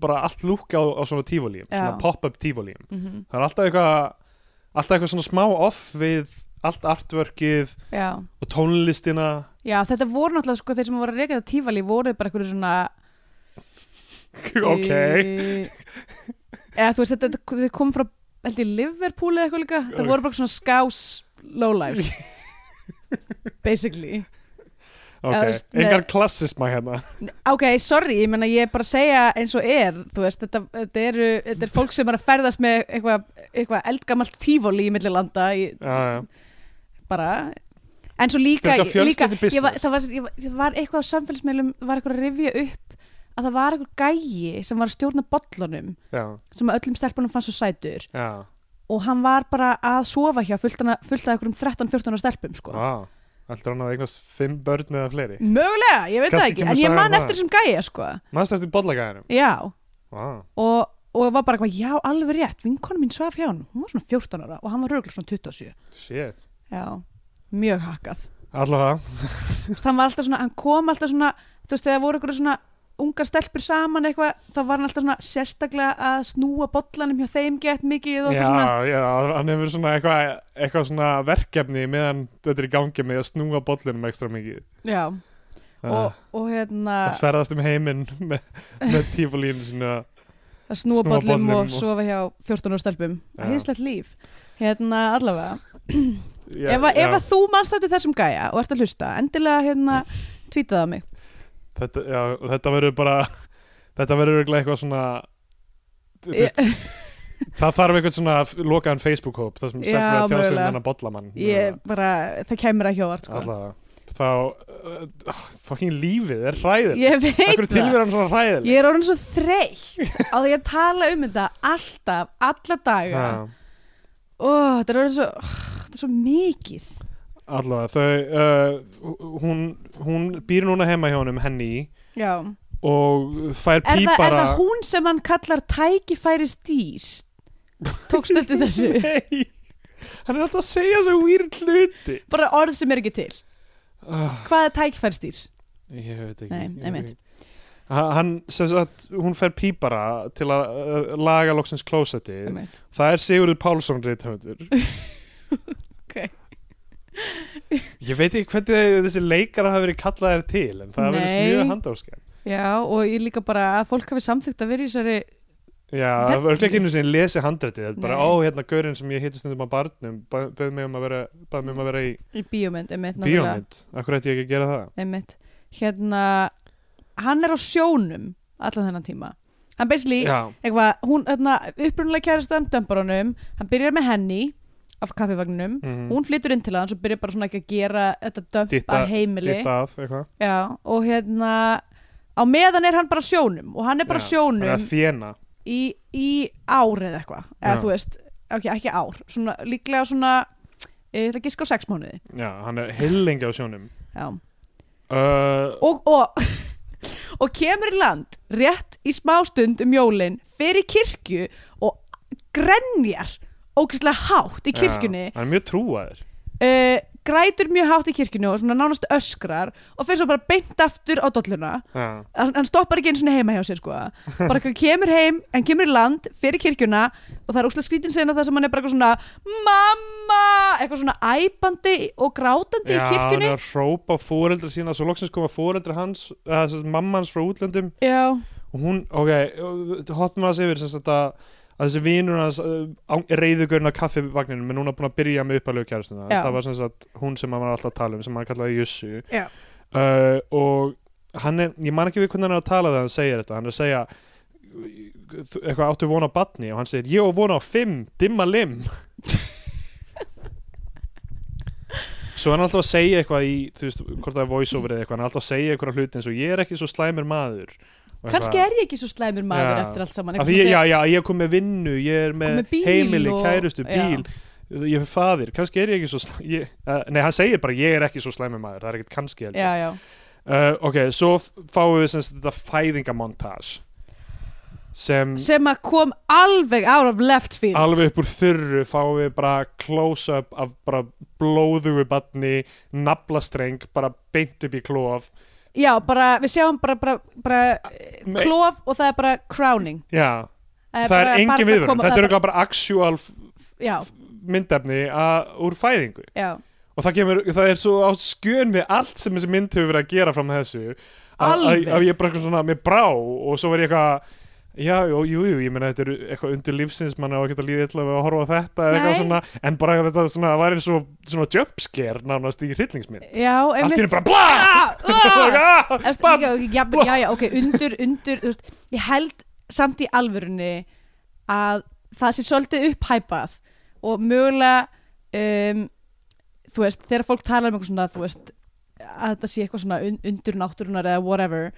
bara allt lúka á, á svona tífólíum
Já.
svona pop-up tífólíum
Mhm,
það er alltaf eitthvað alltaf eitthvað svona smá off við allt artworkið
Já.
og tónlistina
Já, þetta voru náttúrulega sko þeir sem voru að reyka þetta tífali voru bara einhverju svona
[LAUGHS] ok
Í- Eh, eða þú veist þetta, þetta kom frá held ég Liverpool eða eitthvað líka það voru bara svona skás
[LAUGHS]
lowlives basically
ok,
eða þú veist, með-
engar klassisma hérna
ok, sorry, ég menna ég er bara að segja eins og er, þú veist þetta, þetta, eru, þetta er fólk sem er að ferðast með eitthvað eitthva eldgamalt tífóli í millilanda í,
já, já.
bara en svo líka,
Þetta er
líka
fjölskyldubusiness.
ég var, það var, ég var, ég var eitthvað á samfélagsmiðlum var eitthvað að rifja upp að það var eitthvað gæi sem var að stjórna bollunum
já,
sem að öllum stelpunum fannst svo sætur
já,
og hann var bara að sofa hjá fullt hana- fullt af einhverjum 13-14 ára stelpum sko.
já Alltaf hann að eignast fimm börn eða fleiri
mögulega, ég veit það
Kannski
ekki
kemur
en ég
saga
man
um það.
eftir þessum gæja sko.
Manstu eftir bollagæðinum?
já,
Vá,
og, og var bara eitthvað, já, alveg rétt vinkonu mín svaf hjá hann, hún var svona 14 ára og hann var röglega svona 27
shit
já, mjög hakkað
Alltaf
Þú veist, hann var alltaf svona, hann kom alltaf svona þú veist, þegar voru eitthvað svona ungar stelpur saman eitthvað, þá var hann alltaf svona sérstaklega að snúa bollanum hjá þeim gett mikið og
Já,
eitthvað svona
já, hann hefur svona eitthvað eitthvað svona verkefni meðan þetta er í gangi með að snúa bollinum ekstra mikið
já,
og
og, og hérna
að ferðast um heiminn með, með tífólínu sína
að snúa,
Snúa
bollum
bollum
og,
og-
sofa hjá 14 ára stelpum
Já.
hýðslegt líf hérna allavega
Já,
ef, að,
já,
ef að þú manst eftir þessum gæja og ert að hlusta endilega hérna tweetaðu á mig
þetta, já, þetta verður bara [LAUGHS] þetta verður örugglega eitthvað svona þú veist, það þarf eitthvað svona lokaðan Facebook-hóp þar sem
Já,
stelpur að tjá sig um
mögulega.
hennar bollamann
ég bara, það kemur ekki óvart sko.
allavega þá uh, fokkin lífið er hræðil
ég veit
Akkur
það
tilverðan svona hræðil
ég er orðin svo þreytt á því að tala um þetta alltaf, alla daga ó, þetta er orðin svo þetta er svo mikið
Allavega, þau, uh, hún, hún býr núna heima hjá honum henni
já
og fær
er, það, er
pípara
það hún sem hann kallar tækifæris dís tókst eftir þessu
[LAUGHS] Nei, hann er alltaf að segja svo weird hluti
bara orð sem er ekki til
uh,
hvað er tækifæristýrs?
Ég veit ekki
Nei,
ég veit
einmitt.
ekki. Ha- Hann, sem sagt, hún fær pípara til að uh, laga loksins klósetti
ok,
Það er Sigurður Pálsson
[LAUGHS]
reythöfundur Ég veit ekki hvernig þessi leikara hafa verið kallaðir til en það verðist
Nei.
mjög handáskan
já og ég líka bara að fólk hafi samþygt að vera í þessari
Já, það var örugglega ekki einu sinni lesi handrættið, þetta er bara,
Nei.
ó, hérna, gaurinn sem ég hitti stundum á barnum, ba- bauð mig um að vera, bauð mig um að vera í
í bíómynd, einmitt, náttúrulega.
bíómynd, akkur ætti ég ekki að gera það?
einmitt. hérna hann er á sjónum allan þennan tíma hann basically,
Já,
eitthvað, hún öðna, upprunalega kærastan dömbar honum hann byrjar með henni af kaffivagninum
Mhm.
hún flytur inn til hans og byrjar bara svona ekki að gera þetta dömpa
Dytta-
heimili
ditt af, eitthvað.
já, og hérna á meðan er hann bara á sjónum og hann er bara á
Já,
sjónum
Hann er að þjena,
í, í ár eða eitthvað eða
Já.
þú veist, ok, ekki ár svona, líklega svona e, það giska á sex mánuði
já, hann er hillingi á sjónum.
Já.
Uh,
og, og, [LAUGHS] og kemur í land rétt í smástund um jólin fer í kirkju og grenjar ógeðslega hátt í kirkjunni
Já, hann er mjög trúaður.
e, grætur mjög hátt í kirkjunni og svona nánast öskrar og fer svo bara beint aftur á dolluna
Já,
hann hann stoppar ekki eins og heima hjá sér sko bara eitthvað kemur heim, hann kemur í land fyrir kirkjuna og það er óslega skrítin sinna það sem hann er bara eitthvað svona mamma, eitthvað svona æpandi og grátandi
já
í
hann
kirkjunni
er að hrópa á fóreldra sína, svo loksins koma fóreldra hans, uh, mamma hans frá útlöndum
já,
og hún, ok, hoppum að yfir sem sagt að, að þessi vinur hans reyðugurinn á kaffivagninum er núna búin að byrja með uppalegu kærastuna
Já.
það var sem sagt hún sem hann var alltaf að tala um sem hann kallaði Jussu
Já.
uh, og hann er, ég man ekki við hvernig hann er að tala þegar hann segir þetta, hann er að segja "Þú- eitthvað áttu vona á batni og hann segir ég á vona á fimm, dimma lim Svo hann er alltaf að segja eitthvað í, þú veist, hvort það er voiceover eða eitthvað, hann er alltaf að segja eitthvað hluti eins og ég er ekki svo slæmir maður. Og
kannski
eitthvað-
er ég ekki svo slæmur maður
Já.
eftir allt saman
Af því ég, já, já, ég er komið með vinnu, ég er
Kom
með
með bíl
heimili,
og-
kærustu,
já.
bíl, ég er faðir, kannski er ég ekki svo slæm, ég, uh, nei, hann segir bara ég er ekki svo slæmi maður, það er ekkert kannski heldur.
já, já.
Uh, ok, svo f- fáum við sem sagt þetta fæðingamontage sem
sem að kom alveg out of left field
alveg upp úr þurru fáum við bara close-up af bara blóðugu batni, naflastreng, bara beint upp í klof.
já, bara, við sjáum bara, bara, bara eh,
Ah, Me-
klof og það er bara crowning
Já, það er,
bara barn
engin
að
viðvörun,
koma- það
þetta
er
eru bara actual f-
bara- já,
myndefni að, úr fæðingu.
já,
og það kemur, það er svo á skjön við allt sem þessi mynd hefur verið að gera fram að þessu að, að,
Alveg.
að ég bara eitthvað svona með brá og svo var ég eitthvað já, jú, jú, jú, ég meina þetta eru eitthvað undir lífsins mann á að geta líðið illa við að horfa á þetta eða eitthvað
Nei.
svona, en bara þetta svona það var eins og svona jumpscare nánast í hryllingsmynd
já
allt í
einmitt.
henni bara blá [LAUGHS]
Ah, ah!
ah,
Þú veist,
barn.
líka, ok, jafnvel- já, já, ok, undur, undur þú veist, ég held samt í alvörunni að það sé svolítið upphæpað og mögulega um, þú veist, þegar fólk talar um eitthvað svona, þú veist að þetta sé eitthvað svona un undur náttúrunar eða whatever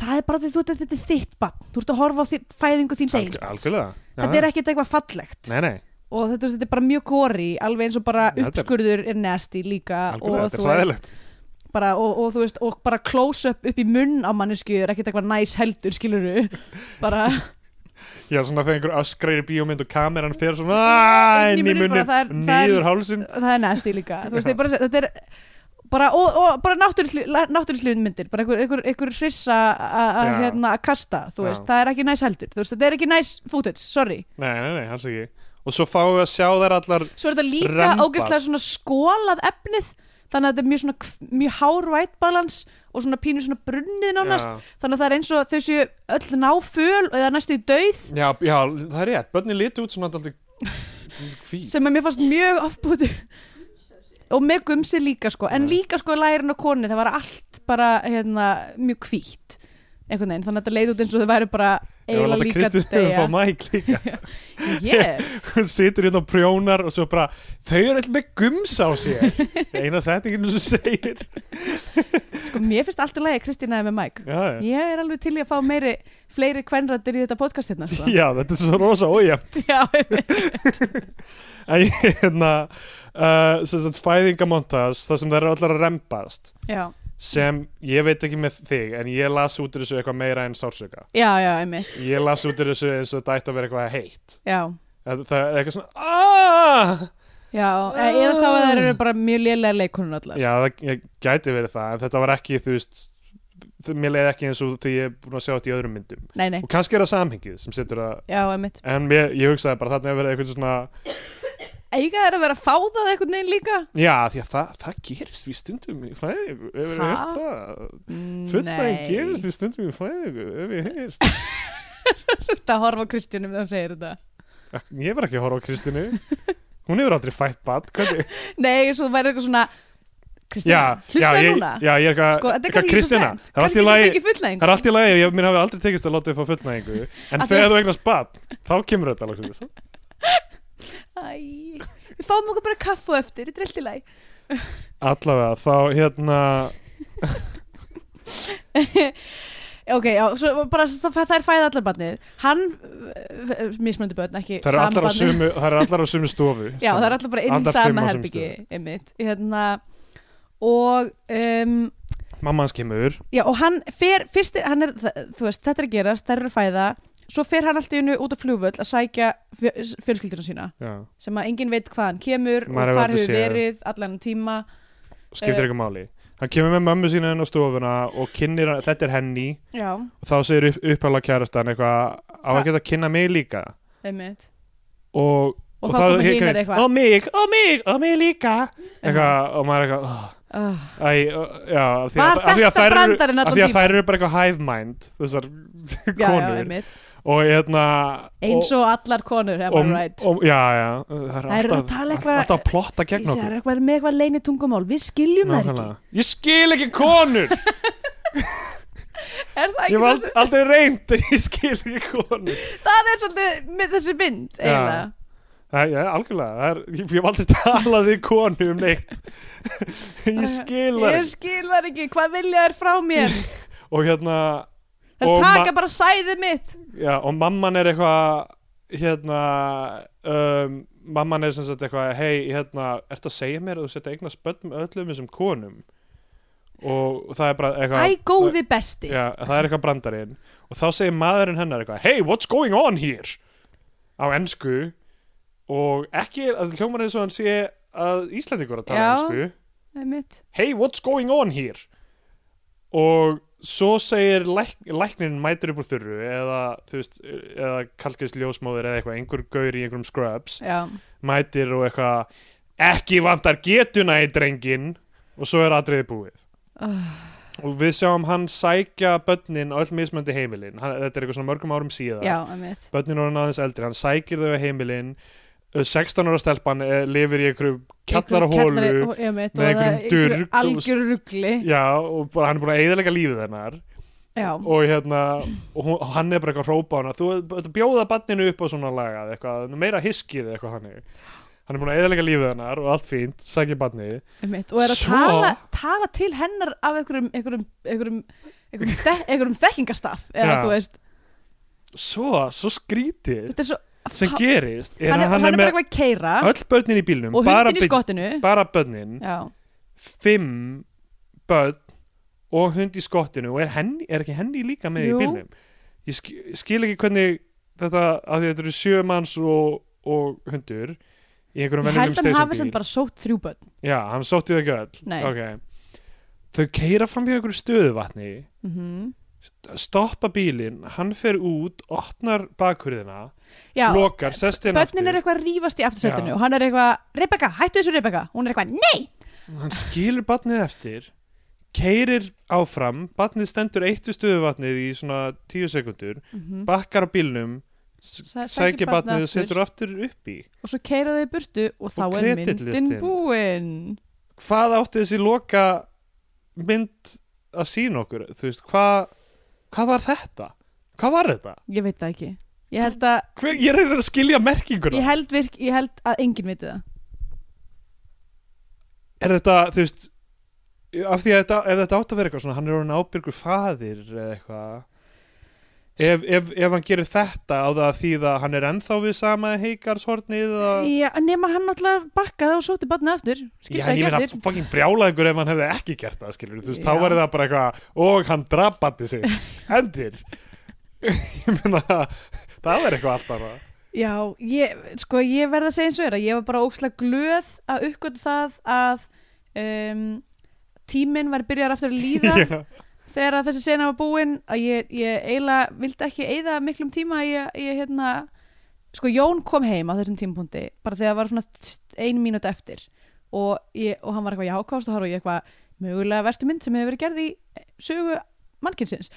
það er bara því þú ert þetta er þitt bann þú ert að horfa á þitt, fæðingu þín
Alg-
segins
algjörlega Já,
þetta er ekkert eitthvað fallegt
nei, nei,
og þetta, þetta er bara mjög kori alveg eins og bara
Þetta er-
uppskurður er nasty líka
algjörlega,
og,
þetta
þú
er
veist,
hlæðilegt
bara, og, og þú veist og bara close up upp í munn á mannesku er ekkert eitthvað næs heldur
[LAUGHS]
skiluru bara
Já, svona þegar einhver öskrar í bíómynd og kameran fer svona "Aah", inn í munni,
bara, það er- það er-
niður hálsin
það er nasty líka þú veist, ég bara, þetta er bara, og, og bara náttúrslífin myndir bara einhver, einhver, einhver hrissa að- að
Já.
hérna, að kasta, þú
Já.
veist, það er ekki næs heldur þú veist, þetta er ekki næs footage, sorry
Nei, nei, nei, alls ekki Og svo fáum við að sjá þær allar
svo er þetta líka
Rembast.
ógeðslega svona skólað efnið þannig að þetta er mjög, svona, kv- mjög hár white balance og svona pínu svona brunnið nánast
Já,
þannig að það er eins og þau séu öll náföl eða næstu í dauð
já, já, það er rétt, börnin liti út svona alltaf Fýt
sem að mér fannst mjög ofbúti og með gumsi líka sko en
Já.
líka sko lærin og konu það var allt bara hérna, mjög hvítt einhvern veginn, þannig að þetta leið út eins og þau væri bara eiginlega líka
Kristur hefur fá mæk líka [LAUGHS]
yeah.
Hún situr hérna og prjónar og svo bara Þau eru alltaf með gums á
[LAUGHS]
sér Eina settinginu sem segir
sko mér finnst allt í lagi að Kristína er með mæk
Já, já
ég er alveg til í að fá meiri fleiri kvenrættir í þetta podcast hérna sko.
Já, þetta er svo rosa ójæmt
Já, einmitt.
En ég, hérna uh, sem sagt, Fæðingamontas, það sem þær eru allar að rempast
já,
sem ég veit ekki með þig en ég las út úr þessu eitthvað meira en sársöka
já, já, einmitt
ég las út úr þessu eins og þetta ætti að vera eitthvað heitt
já,
það, það er eitthvað svona "Ah!" aaaah
já, e- eða þá að það eru bara mjög lélega leikunum allar
já það ég, gæti verið það en þetta var ekki þú veist þ- mér leiði ekki eins og því ég er búin að sjá þetta í öðrum myndum
nei, nei,
og kannski er það samhengið sem setur það
já, einmitt
en mér, ég hugsaði bara þarna hefur verið eitthvað svona
eiga er að vera að fá það einhvern veginn líka
já því að það, það gerist við stundum í fæðingu ef við
Ha?
hefur það fullnægin
Nei.
gerist við stundum í fæðingu ef við hefur
Þetta að horfa á Kristjánum þegar hann segir þetta
ég var ekki að horfa á Kristinu hún hefur aldrei fætt bad hvernig
Nei, svo væri eitthvað svona
já,
Kristján,
já,
hlustaði
ég,
núna
já, ég er eitthvað
Sko, þetta er
eitthvað
kannski ekki svo
Kristína,
slæmt
það er allt í
Kannski ekki
lagi
fengið fullnæðing
það er allt í lagi, ég, mér hafi aldrei tekist að láta þið fá fullnæðingu en
Af því
þegar
að-
þú eignast bad, þá kemur þetta loksins.
Æ, við fáum okkur bara kaffu á eftir, þetta er allt í lagi
allavega, þá hérna
Ok, já, svo bara svo, það, það er fæða allar barnið Hann, uh, uh, mismöndi börn, ekki
það eru
sama
allar, á
barnið.
sömu- þær eru allar á sumu stofu
Já, það er allar bara inn í
Allar fimm á
sama
sömu
herbyggi einmitt, hérna, Og um,
mamma hans kemur
Já, og hann fer, fyrst, er- hann er, þa- þú veist, þetta er að gerast, þær eru að fæða, svo fer hann alltaf innu út á flugvöll að sækja fjölskyldurinn sína,
já,
sem að enginn veit hvað hann kemur
Maður
og
hefur
hvar
aldrei
hefur
séð.
verið allan þennan tíma.
skiptir
Eh.
ekki máli hann kemur með mömmu sína inn á stofuna og kynir, hann- þetta er henni
Já,
og þá segir upp, upphæla kærastan eitthvað á að geta að kynna mig líka
einmitt.
og
Og, þá komur hinar eitthvað.
og mig, og mig, og mig líka eitthvað, og maður er eitthvað oh.
Oh,
Æ, ö, já, af því
Var
að, af því að
þetta
þær eru- af
brandarinn allan
því að
tímann?
þær eru bara eitthvað hive mind þessar
já, já,
konur
einmitt.
og hérna
Eins og allar konur, am I
og,
right?
og, já, já, það er
Þær eru
alltaf,
að tala
all-
eitthvað-
alltaf að plotta gegn
Ísja, það
okkur
er eitthvað með eitthvað leini tungumál, við skiljum það ekki.
Nákvæmlega. ég skil ekki
[LAUGHS]
konur
Er það
ég hef
ekki það
ald- aldrei reynd en ég skil ekki konur
sem, það er svolítið með þessi mynd,
Já.
eiginlega.
Æ, já, algjörlega, það er, ég, ég hef aldrei talað við konu um neitt [LAUGHS] ég skil það
Ég
ekki
skil það ekki, hvað vilja þær frá
[LAUGHS]
mér?
og hérna
Það
Og
taka
ma-
bara sæðið mitt.
Já, og mamman er eitthvað hérna um, mamman er sem sagt eitthvað hei, hérna, ertu að segja mér að þú setja eignast börn með öllum þessum konum og það er bara eitthvað
Æ, góði besti.
já, það er eitthvað brandarinn og þá segir maðurinn hennar eitthvað hey, what's going on here á ensku og ekki, að hljómar eins og hann sé að Íslandingur að tala
Já.
ensku
Það er mitt.
hey, what's going on here og svo segir læk, læknin mætir upp úr þurru eða, þú veist, eða kalkist ljósmóður eða eitthvað, einhver gaur í einhverjum scrubs
Já,
mætir og eitthvað ekki vantar getuna í drengin og svo er atriði búið og við sjáum hann sækja börnin á öll mismöndi heimilin hann, þetta er eitthvað svona mörgum árum síðan
já, það er mitt.
börnin orðin aðeins eldri, hann sækir þau á heimilin Uh, 16 ára stelpan eh, lifir í einhverju kallara hólu
Já, mitt.
með einhverjum durg og-
Algjör ruggli.
Já, og bara hann er búin að eigðalega lífið hennar
Já,
og hérna, og hún, og hann er bara eitthvað að hrópa á hana, þú ert að bjóða banninu upp á svona lagað, eitthvað, meira hiskið eitthvað þannig. Hann er búin að eigðalega lífið hennar og allt fínt, sækir bannið
það mitt. Og er að
Svo-
tala, tala til hennar af einhverjum, einhverjum, einhverjum einhverjum, þek einhverjum þekkingastað eða
Já.
þú veist,
svo, svo skrítið
þetta er svo
sem
hann,
gerist er
hann,
að
er, hann er bara eitthvað að keira
öll börnin í bílnum
og
bara,
hundin í
börn-
skottinu
bara börnin
já,
fimm börn og hund í skottinu og er, henni, er ekki henni líka með
Jú.
í bílnum ég sk skil ekki hvernig þetta af því að þetta eru sjö manns og, og hundur í einhverjum
ég held að hann
venjulegum
hafi sem
steisum
bara sótt þrjú börn
já, hann sótti það ekki
Nei.
öll okay. þau keira fram hjá einhverju stöðuvatni
mm
stoppa bílinn, hann fer út opnar bakhurðina,
já,
lokar, sest inn aftur
börnin er eitthvað að rífast í aftursætinu
Já.
og hann er eitthvað, Rebecca, hættu þessu Rebecca hún er eitthvað, nei,
hann skilur batnið eftir keirir áfram batnið stendur eittu stöðuvatnið í svona tíu sekundur bakkar á bílnum, s-
Sæ- sækir
Mhm. sækir
barnið
batnið og
aftur.
setur aftur upp í
og svo keira þau í burtu og þá
Og
er myndin
kreditlistin.
búin
hvað átti þessi loka mynd að sína okkur þú veist, hvað hvað var þetta? hvað var þetta?
ég veit það ekki ég held, að,
Hver, ég er að skilja
ég,
merkinguna
held virk, ég held að enginn viti það
er þetta, þú veist af því að þetta, ef þetta átt að vera eitthvað svona hann er orðin ábyrgur faðir eða eitthvað ef, ef, ef hann gerir þetta á það að því að hann er ennþá við sama heikarshornið eða
já, nema hann alltaf bakkaði og sótti barnið aftur
Já,
skilta
en ég
ekki
meina
aftur
fucking brjálæðingur ef hann hefði ekki gert það, skilur þú veist,
Já.
þá verði það bara eitthvað, og hann drapandi sig, endir [LAUGHS] ég meina það verði eitthvað allt annað
já, ég, sko ég verð að segja eins og er að ég var bara ókslega glöð að uppgöta það að um, tíminn var byrjar aftur að líða
[LAUGHS] Já.
þegar að þessi sena var búin að ég, ég eiginlega vildi ekki eigða miklum tíma ég, ég hérna sko Jón kom heim á þessum tímapunkti bara þegar það var svona ein mínút eftir og, ég, og hann var eitthvað jákást og horf ég eitthvað mögulega verstu mynd sem hefur verið gerð í sögu mannkynsins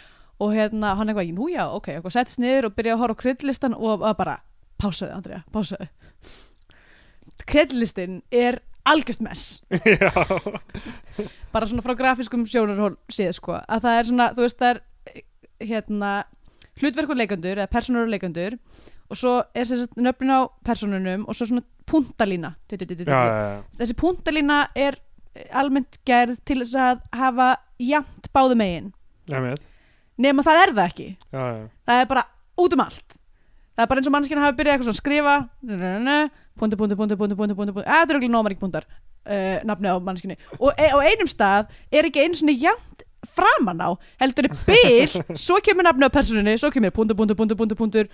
og hérna hann eitthvað, nú já, ok, eitthvað settist niður og byrja að horfa á kryddlistan og að bara pásaði Andrea, pásaði kryddlistin er algjört mess
Já.
bara svona frá grafiskum sjónarhól séð sko, að það er svona, þú veist, það er eh, hérna, hlutverkur leikendur eða persónur og leikendur og svo er þessi nöfnin á persónunum og svo svona puntalína Di- di- di- di- di-
Já, já, já.
þessi puntalína er eh, almennt gerð til þess að hafa jafnt báðu megin
Já, með.
nema það er það ekki,
Já, já.
það er bara út um allt það er bara eins og mannskina hafi byrjað eitthvað svona að skrifa nö-nö-nö, puntu, puntu, puntu, puntu, puntu, puntu, puntu, að það er okkur nómar ekki puntar uh, nafni á mannskinni og e á einum stað er ekki einu svona jæmt framan á, heldur er bil svo kemur nafni á personinni, svo kemur puntu, puntu, puntu, puntu, puntur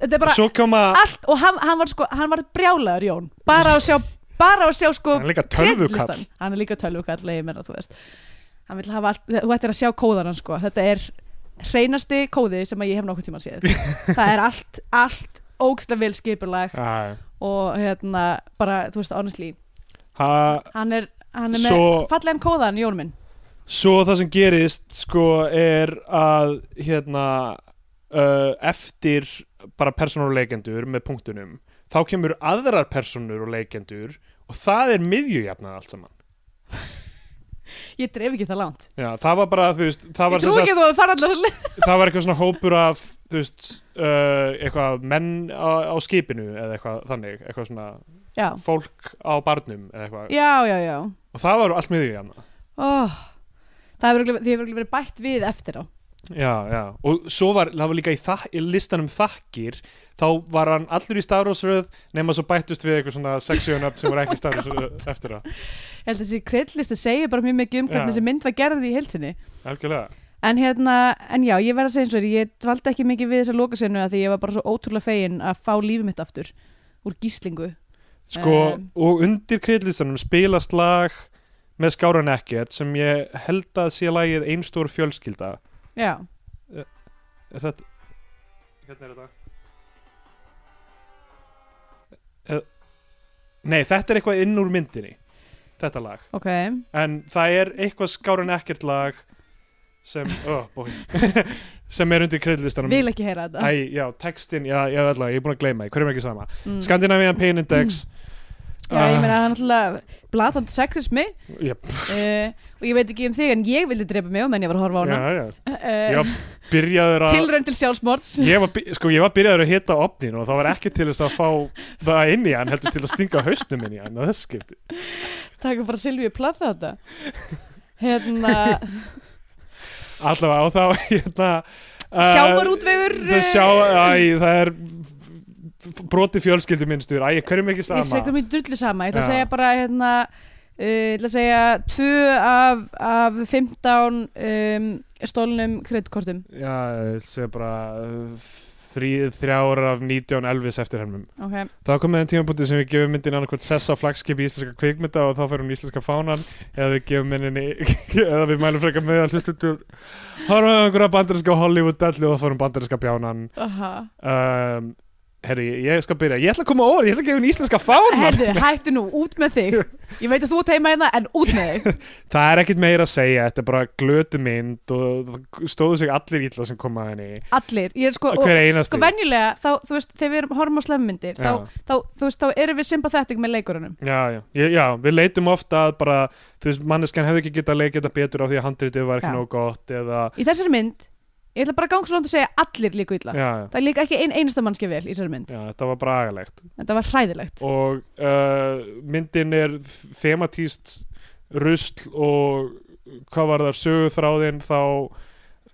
þetta er bara
Svo koma,
allt og hann, hann var sko, hann var brjálaður Jón, bara að sjá bara að sjá sko
hann er líka tölvukall
Kreddlistan. hann er líka tölvukall leiði mér að þú veist hann vil hafa allt, þú ættir að sjá kóðan hann sko þetta er hreinasti kóði sem að ég hef nokkuð tíma
[LAUGHS]
séð það er allt, allt ógsta vel skipulagt
Já, já.
og hérna bara, þú veist, honestly
Ha-
hann er, hann er með
Svo-
fallegan kóðan, Jón minn
Svo það sem gerist sko er að hérna uh, eftir bara personur og leikendur með punktunum þá kemur aðrar personur og leikendur og það er miðjujafnað allt saman.
ég dreif ekki það langt
Já, það var bara, þú veist, það
ég
var, sem
trú ekki að þú að
[LAUGHS]
fara allar
það var eitthvað svona hópur af, þú veist, uh, eitthvað menn á, á skipinu eða eitthvað þannig, eitthvað svona
já,
fólk á barnum eða eitthvað
já, já, já
og það var allt miðjujafnað.
oh. það hefur örugglega- því hefur örugglega verið bætt við eftir á
Já, já, og svo var, það var líka í, þak, í listanum þakkir, þá var hann allur í stafrósröð nema svo bættust við eitthvað svona sexion up sem var ekki
[LAUGHS] Oh
stafrósröð eftir það,
ég held að þessi kreddlisti segir bara mjög mikið um
Já.
hvernig þessi mynd var gerð í heilsinni
algjörlega
En hérna, en já, ég verð að segja eins og þér, ég dvaldi ekki mikið við þessa lokasenu að því ég var bara svo ótrúlega fegin að fá lífið mitt aftur úr gíslingu.
Sko,
Um.
og undir kreitlistanum spilast lag með Skáran Ekkert sem ég held að sé lagið Ein stór fjölskylda
Já,
er þetta, Hvernig er þetta? Eh, Nei, þetta er eitthvað inn úr myndinni Þetta lag
ok.
en það er eitthvað skáran ekkert lag sem oh, boy, [LAUGHS] sem er undir kreidlistanum
Vil ekki heyra þetta.
Æ, já, textin, já, já, allavega, ég er búin að gleyma því, hverjum er ekki sama
Mm.
Scandinavian Pain Index
Já,
ah.
ég meina, hann alltaf blatandi sexismi [LAUGHS]
já,
uh, og ég veit ekki um þig en ég vildi drepa mig um en ég var að horfa á hana.
já, já,
[LAUGHS]
ég
Uh,
var byrjaður að
Tilraun til sjálfsmorts.
ég var, by- sko, ég var byrjaður að hita opnin og það var ekki til þess að fá það inn í hann, heldur til að stinga hausnum inn í hann, að þess skipti [LAUGHS]
Takk bara Silvíu platta þetta. Hérna,
allavega og þá [LAUGHS] hérna, uh,
Sjávarútvegur
það,
eh,
sjá, æ, það er broti fjölskyldu minnstur æ, hverjum ekki
Ég sveikar
sama
mér drullu sama, ég ætla
Já.
að segja bara hérna, uh, ég ætla að segja 2 af, af 15 um, stólnum kreditkortum
já, ég sé bara uh, þrí, þrjár af 19 Elvis eftirhermum
okay.
Það komið en tímapunkti sem við gefum myndin annarkvæmt sess á flagskipi íslenska kvikmynda og þá fer hún í íslenska fánan eða við gefum myndinni [LAUGHS] eða við mælum frekar með að hlustendur horfum við einhverja bandarinska Hollywood-dellu og þá fer hún bandarinska bjánan um, Herri, ég skal byrja Ég ætla að koma over, ég ætla að gefa henni íslenska fánan
Herðu, hættu nú, út með þig Ég veit að þú ert heima hérna, en út með þig
Það er ekkit meira að segja, þetta er bara glötu mynd og það stóðu sig allir illa sem koma að henni
Allir, ég er sko og-
Hver einasti
Sko venjulega, þá, þú veist, þegar við erum horfum á slemmyndir þá,
Já.
þá, þú veist, þá erum við sympathetic með leikurunum
Já, já, Ég- já, við leitum ofta að bara, þú veist, manneskjan hefði ekki getað leikið þetta betur á því að handritið var ekki
Já.
nóg gott eða,
Í þessari mynd, ég ætla bara að ganga svo langt að segja allir líku illa
já, já
Það er líka ekki ein einasta mannski vel í þessari mynd
Já, þetta var bara agalegt
Þetta var hræðilegt
og uh, myndin er þ- thematíst rusl og hvað var þar söguþráðin þá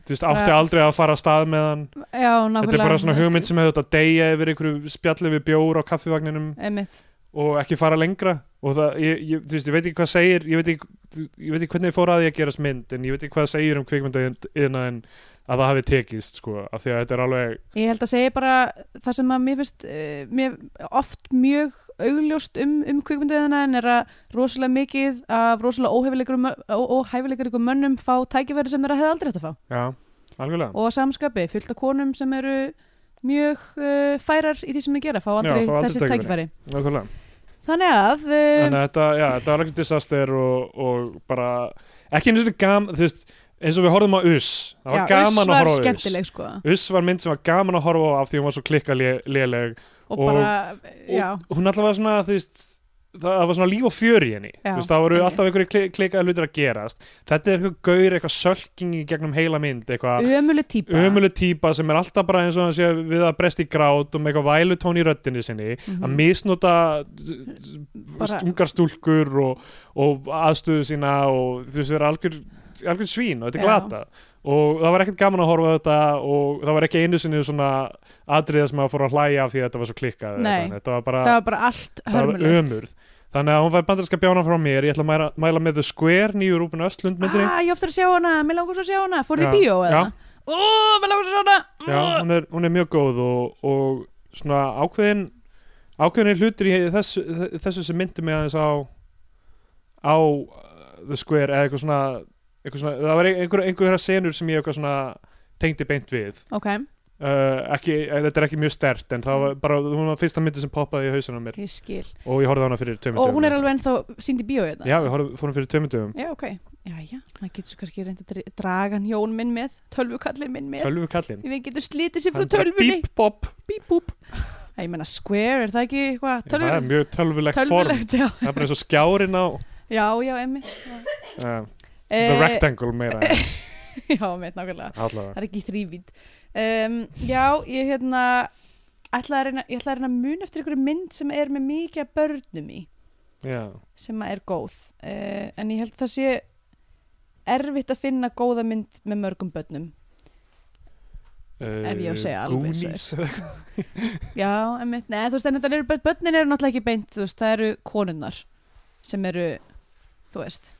þú veist, átti
Ja.
aldrei að fara að stað með hann
Já, nákvæmlega
þetta er bara svona hugmynd sem hefur þetta deyja yfir einhverju spjalli við bjór á kaffivagninum
Einmitt.
og ekki fara lengra og það, ég, ég, þú veist, ég veit ekki hvað segir ég veit ekki, ég veit ekki hvernig fór að því að gerast mynd en ég veit ekki hvað segir um kvikmyndaiðnaðin að það hafi tekist sko, af því að þetta er alveg
Ég held að segja bara það sem að mér finnst uh, mér oft mjög augljóst um, um kvikmyndiðina en er að rosalega mikið af rosalega óhæfileikum, óhæfileikum mönnum fá tækifæri sem er að hefða aldrei hægt að fá
já, algjörlega
og að samskapi fullt af konum sem eru mjög uh, færar í því sem við gera fá
Já,
aldrei,
fá aldrei
þessi
tækifæri.
tækifæri
Nákvæmlega.
Þannig að, um,
Þannig að þetta, já, þetta var ekkert disaster og, og bara ekki einu svona gaman, þú veist, eins og við horfðum á Us, það var
já, Uss
gaman að
var
horfa á Us.
skemmtileg sko og,
Us var mynd sem var gaman að horfa á af því hún var svo klikka léleg Og-
bara, já,
og hún alltaf var svona, þú veist, það, það var svona líf og fjör í henni,
Já,
þú veist, það voru
einmitt.
alltaf einhverju klikaði hlutir að gerast. Þetta er eitthvað gaur, eitthvað sölking í gegnum heila mynd, eitthvað
ömuleg típa
ömuleg típa sem er alltaf bara eins og hann sé við að bresta í grát og með eitthvað vælutón í röddinni sinni
Mhm.
að misnota
Bara-
stungar stúlkur og, og aðstöðu sína og þú veist, það er algjör, algjör svín og þetta er
Já.
glata og það var ekkert gaman að horfa á þetta og það var ekki einu sinni svona atriða sem að fór að hlæja af því að þetta var svo klikkað eða
Nei.
eitthvað, þetta var bara,
Það var bara allt
það var
hörmulegt
ömurð þannig að hún fær bandarska bjána frá mér ég ætla að mæla, mæla með The Square, nýju Rúben Östlund myndinni
ah, ég ofta að sjá hana, mér langar svo að sjá hana fór þið
Já,
í bíó eða?
já.
ó, mér langar svo að sjá hana
Já, hún er, hún er mjög góð og, og svona ákveðin ákveðin hlutir í þessu, þessu sem myndi mig aðeins á á uh, The Square eða eitthvað svona, eitthvað svona það var einhver, einhverja senur sem ég eitthvað svona tengdi beint við
ok,
uh, ekki, eh, þetta er ekki mjög stert en það var bara, hún var fyrsta myndi sem poppaði í hausinu á mér
ég skil
og ég horfði á hana fyrir tveimundum
og hún er alveg ennþá sínd í bíó eða?
Já, við horfði, fórum fyrir tveimundum
já, ok, já, já, maður getur svo kannski reynda að dr- draga hann Jón minn með tölvukallin minn með
Tölvu kallinn
við getum slítið sér
Hann
frá
bara
tölvunni
Bíp, bopp
bíp, búp ég menna square, er það ekki hvað,
Það er
tölvulegt
mjög tölvulegt form
já,
Það er bara eins og skjárin á
já, já, emmi
uh,
Eh,
The Rectangle meira en-
[LAUGHS] já, emmi, nákvæmlega,
Allavega
það er ekki þrývít um, já, ég hérna ætla að reyna, ég ætla að reyna að muna eftir einhverju mynd sem er með mikið af börnum í
Já,
sem að er góð uh, en ég held að það sé erfitt að finna góða mynd með mörgum börnum Ef ég á að segja alveg eins og
Eh, Goonies
já, emmitt, neða, þú veist, en þetta eru börn- börnin eru náttúrulega ekki beint, þú veist, það eru konunnar sem eru, þú veist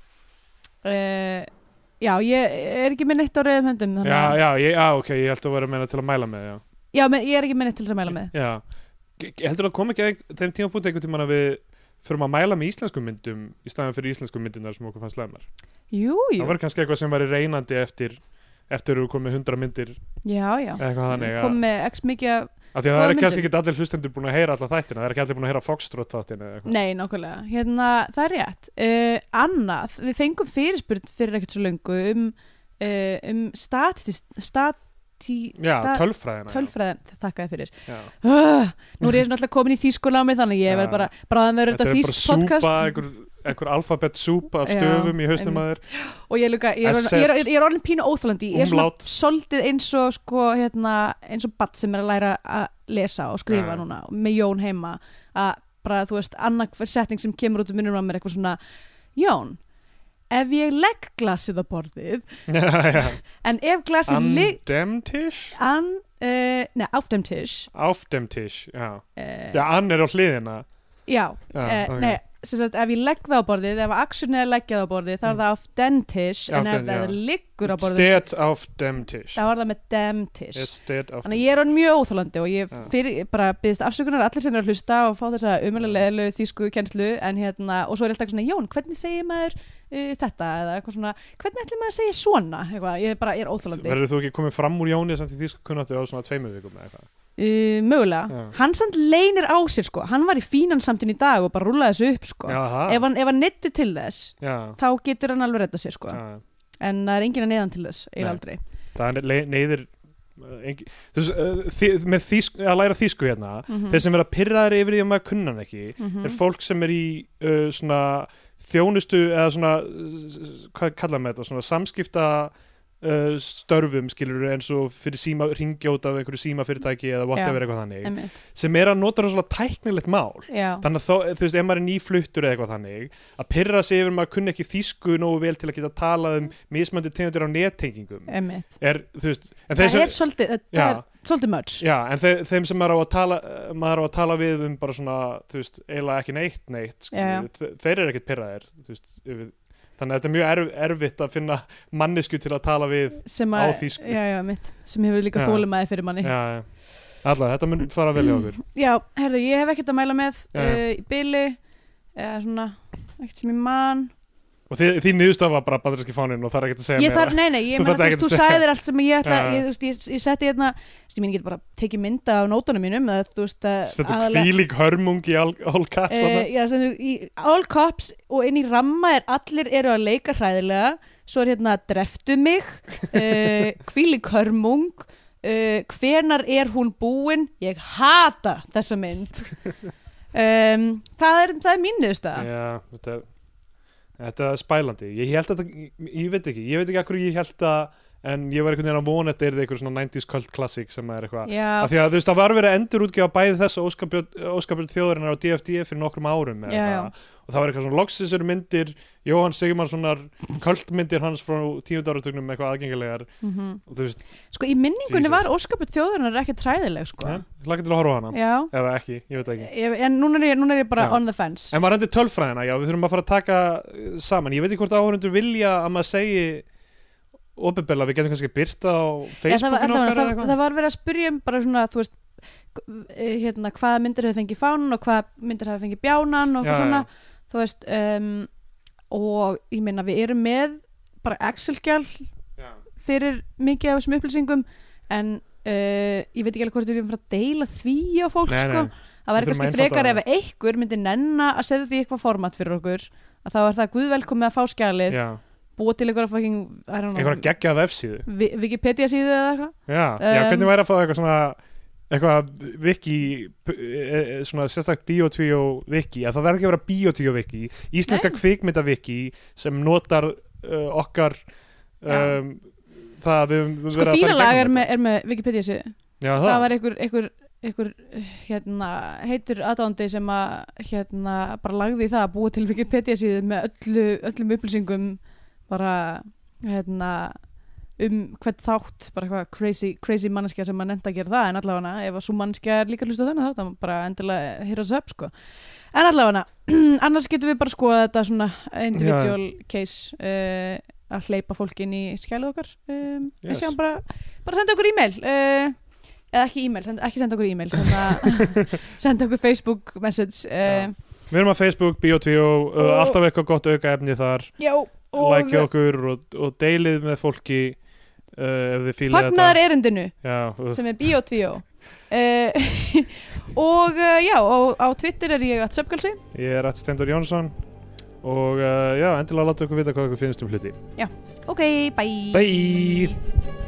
uh, já, ég er ekki með neitt á reyðum höndum þannig
Já,
að-
já, ég, já, ok, ég held að vera að meina til að mæla með, já,
já men, ég er ekki með neitt til þess að mæla með
já. G- Heldur það kom ekki að ein- þeim tímapunkt einhvern tímann að við förum að mæla með íslenskum myndum í staðan fyrir íslenskum myndunar sem okkur fannst lemar
jú, jú,
Það var kannski eitthvað sem væri reynandi eftir eftir við komið hundra myndir
já, já
eða eitthvað þannig að,
kom með x mikið af,
af því að það
góðar
er kannski
myndir.
ekki allir hlustendur búin að heyra alla þættina það er ekki allir búin að heyra Foxtrot þáttina eða eitthvað
nei, nákvæmlega hérna, það er rétt uh, annað, við fengum fyrirspurn fyrir ekkert svo löngu um, uh, um statist, stati,
Já, tölfræðina
tölfræðin, þakka þið fyrir
já. Já.
Uh, nú er ég náttúrulega komin í þýskulámi þannig ég verð
Já.
bara bráðan verður
Þetta
þetta
er bara
þýst podcast
súpa, einhver, einhver alfabet súpa af
Já,
stöfum í haustum
einmitt.
að þér
og ég, luka, ég, er, orðin-
Accept.
ég, er, ég er orðin pínu óþólandi ég er svona
Umlaut.
soldið eins og sko, hérna, eins og batt sem er að læra að lesa og skrifa
Já.
núna með Jón heima að bara þú veist annað hver setning sem kemur út um munum á mér eitthvað svona Jón, ef ég legg glasið á borðið
[LAUGHS] já,
en ef glasið um, ligg
Andemtisch?
an, uh, nei, afdæmtisch
Afdemtisch, já.
uh,
Já, ann er á hliðina.
já,
Já,
uh,
ok.
nei sem sagt, ef ég legg það á borðið, ef axun er að leggja það á borðið þá er
Mm.
það afdentish en ef
Afdent-
það
já.
liggur á borðið
Stedt afdemtisch.
þá er það með demtish
Yes, stedt
Þannig
afdemtisch.
að ég er hann mjög óþólandi og ég
Já.
fyrir, bara byggðist afsökunar allir sem eru að hlusta og fá þessa umhverfilegu þýsku kjenslu en hérna, og svo er ég alltaf svona, Jón, hvernig segir maður uh, þetta eða eitthvað svona, hvernig ætlum maður að segja svona, eitthvað, ég er bara, ég er óþólandi
Verður þú ekki komið fram úr Jóni samt í þýsku kunnáttu á svona tveimur vikum eða eitthvað?
uh, mögulega,
Já.
hann samt leinir á sér sko, hann var í fínan samtinn í dag og bara rúlaði þessu upp sko,
Jaha.
ef hann, ef hann neittu til þess,
Já,
þá getur hann alveg redda sér sko,
já.
en það er enginn að neyðan til þess, eiginlega
Nei.
aldrei
Það er le- neyðir... uh, engi- Þú veist, uh, þi- með þýsk, að læra þýsku hérna,
Mhm.
þeir sem er að pyrra þeir yfir því að maður kunna hann ekki,
Mhm.
er fólk sem er í uh, svona þjónustu eða svona, uh, hvað kallar maður þetta, svona samskipta uh, störfum skilur eins og fyrir síma, ringja út af einhverju símafyrirtæki eða whatever eitthvað þannig,
Einmitt.
sem er að nota svona tæknilegt mál.
Já.
Þannig að þó, þú veist, ef maður er nýfluttur eða eitthvað þannig, að pyrra sig yfir maður kunni ekki þýsku nógu vel til að geta talað um mismöndi tegundir á nettengingum.
Einmitt.
Er, þú veist, en þeir
Það
sem-
er svolítið, það
Já.
er svolítið much
Já, en þe þeim sem maður á að tala maður á að tala við um bara svona þú veist, eiginlega ekki neitt neitt skilur
Já, já.
við. Þe- þeir eru ekkert pirraðir þú veist, yfir, þannig að þetta er mjög erf erfitt að finna mannesku til að tala við
sem
Á
að,
þýsku.
já, já, mitt, sem hefur líka
Já.
þólimaði fyrir manni já,
Já, alltaf, þetta mun fara vel hjá okkur
herðu, ég hef ekkert að mæla með
Já,
já,
já.
í byli eða svona, ekkert sem ég man
og þið, þið niðurstað var bara bandarinski fáninn og það er ekkert að segja
ég þarf, nei, nei, ég
Þú
meina,
þarft
þú
ekkert
veist, þú
að segja.
sæðir allt sem ég ætla
Já, já.
ég, þú veist, ég, ég seti hérna, þú veist, ég mín, ég get bara tekið mynda á nótunum mínum, eða þú veist að
[LAUGHS] stendur kvílík hörmung í all, all cats
Uh,
uh,
já, stendur, í, all cops og inn í ramma er allir eru að leika hræðilega svo er hérna dreftu mig uh,
[LAUGHS]
kvílik hörmung uh, hvenar er hún búin ég hata þessa mynd um, það er, það er mín niðurstaða
Já, þetta er þetta er spælandi, ég held að þetta ég, ég veit ekki, ég veit ekki akkur ég held að en ég var einhvern veginn að vona að þetta er eitthvað svona 90s cult classic sem er eitthvað
já,
af því að þú veist, það var verið að endur útgefa bæði þessa óskapjöld þjóðurinnar á DFD E fyrir nokkrum árum eða
Já,
eitthvað. og það var eitthvað svona loksins eru myndir Jóhann Sigurmannssonar kvöldmyndir hans frá tíund áratugnum eitthvað aðgengilegar
mm
og þú veist,
sko í minningunni
Jesus.
var óskapur þjóðurinnar ekkert hræðileg sko
ja, hlaka eh, til að horfa á hana
já,
eða ekki, ég veit ekki
ég, en núna er ég, núna er ég bara
Já.
on the fence
en varandi tölfræðina, já, við þurfum að fara að taka eh, saman, ég veit ekki hvort áhörundur vilja að maður segi opinbella, við getum kannski byrta á
Já, það, var,
Facebookinu
allavega,
okkar eða
það,
eitthvað
það var verið að spyrja um bara svona, þú veist eh, hérna, hvaða myndir hefur fengið fánan og hvaða myndir hefur fengið bjánan og
Já,
eitthvað svona, þú veist um, og ég meina við erum með bara Excel-gjál
já, já.
fyrir mikið af þessum upplýsingum en uh, ég veit ekki alveg hvort við erum að fara að deila því á fólk
Nei,
sko.
nei. Við
það væri
þurfum
kannski
að
frekar
einfalda
ef einhver myndi nenna að setja þetta í eitthvað format fyrir okkur að þá er það guðvelkomið að fá skjalið
Já.
búa til eitthvað fucking, I don't know,
einhverja geggjað vefsíðu
Vi- Wikipedia síðu eða eitthvað
Já, já
Um,
hvernig væri að fá eitthvað svona eitthvað viki p- e- e- svona sérstakt biotvíó viki, að það verður ekki að vera biotvíó viki íslenska
Nei.
kvikmynda viki sem notar uh, okkar
Já.
um, það að við höfum verið
Sko
að fara í
fínalag er,
gegnum
með- er með Wikipedia síðu
þetta. Já, það,
Það var einhver, einhver, einhver hérna, heitur aðdándi sem að hérna, bara lagði í það að búa til Wikipedia síðu með öllu, öllum upplýsingum bara hérna, um hvert þátt bara eitthvað crazy, crazy manneskja sem að nefnda að gera það en allavega ef að svo manneskja er líka hlustu þennan þátt þá bara endilega hýra þessu upp sko en allavega [CLEARS THROAT] annars getum við bara skoða þetta svona individual case uh, að hleypa fólkin í skjælið okkar um,
Yes.
yes. sjáum bara, bara senda okkur e-mail uh, eða ekki e-mail, senda, ekki senda okkur e-mail þannig að senda okkur Facebook message uh,
við erum að Facebook, biotvíó uh,
Og-
alltaf eitthvað gott auka efni þar
já, og
lækja okkur og, og deilið með fólki uh, ef þið fílið
fagnaðar erindinu
þetta já,
sem er Bíotvíó uh, [LAUGHS] og uh, já og á Twitter er ég að söpkalsi
uh, ég er Rætt Stendur Jónsson e, og uh, já, endilega láta okkur vita hvað okkur finnst um hluti
ok, bye
Bye.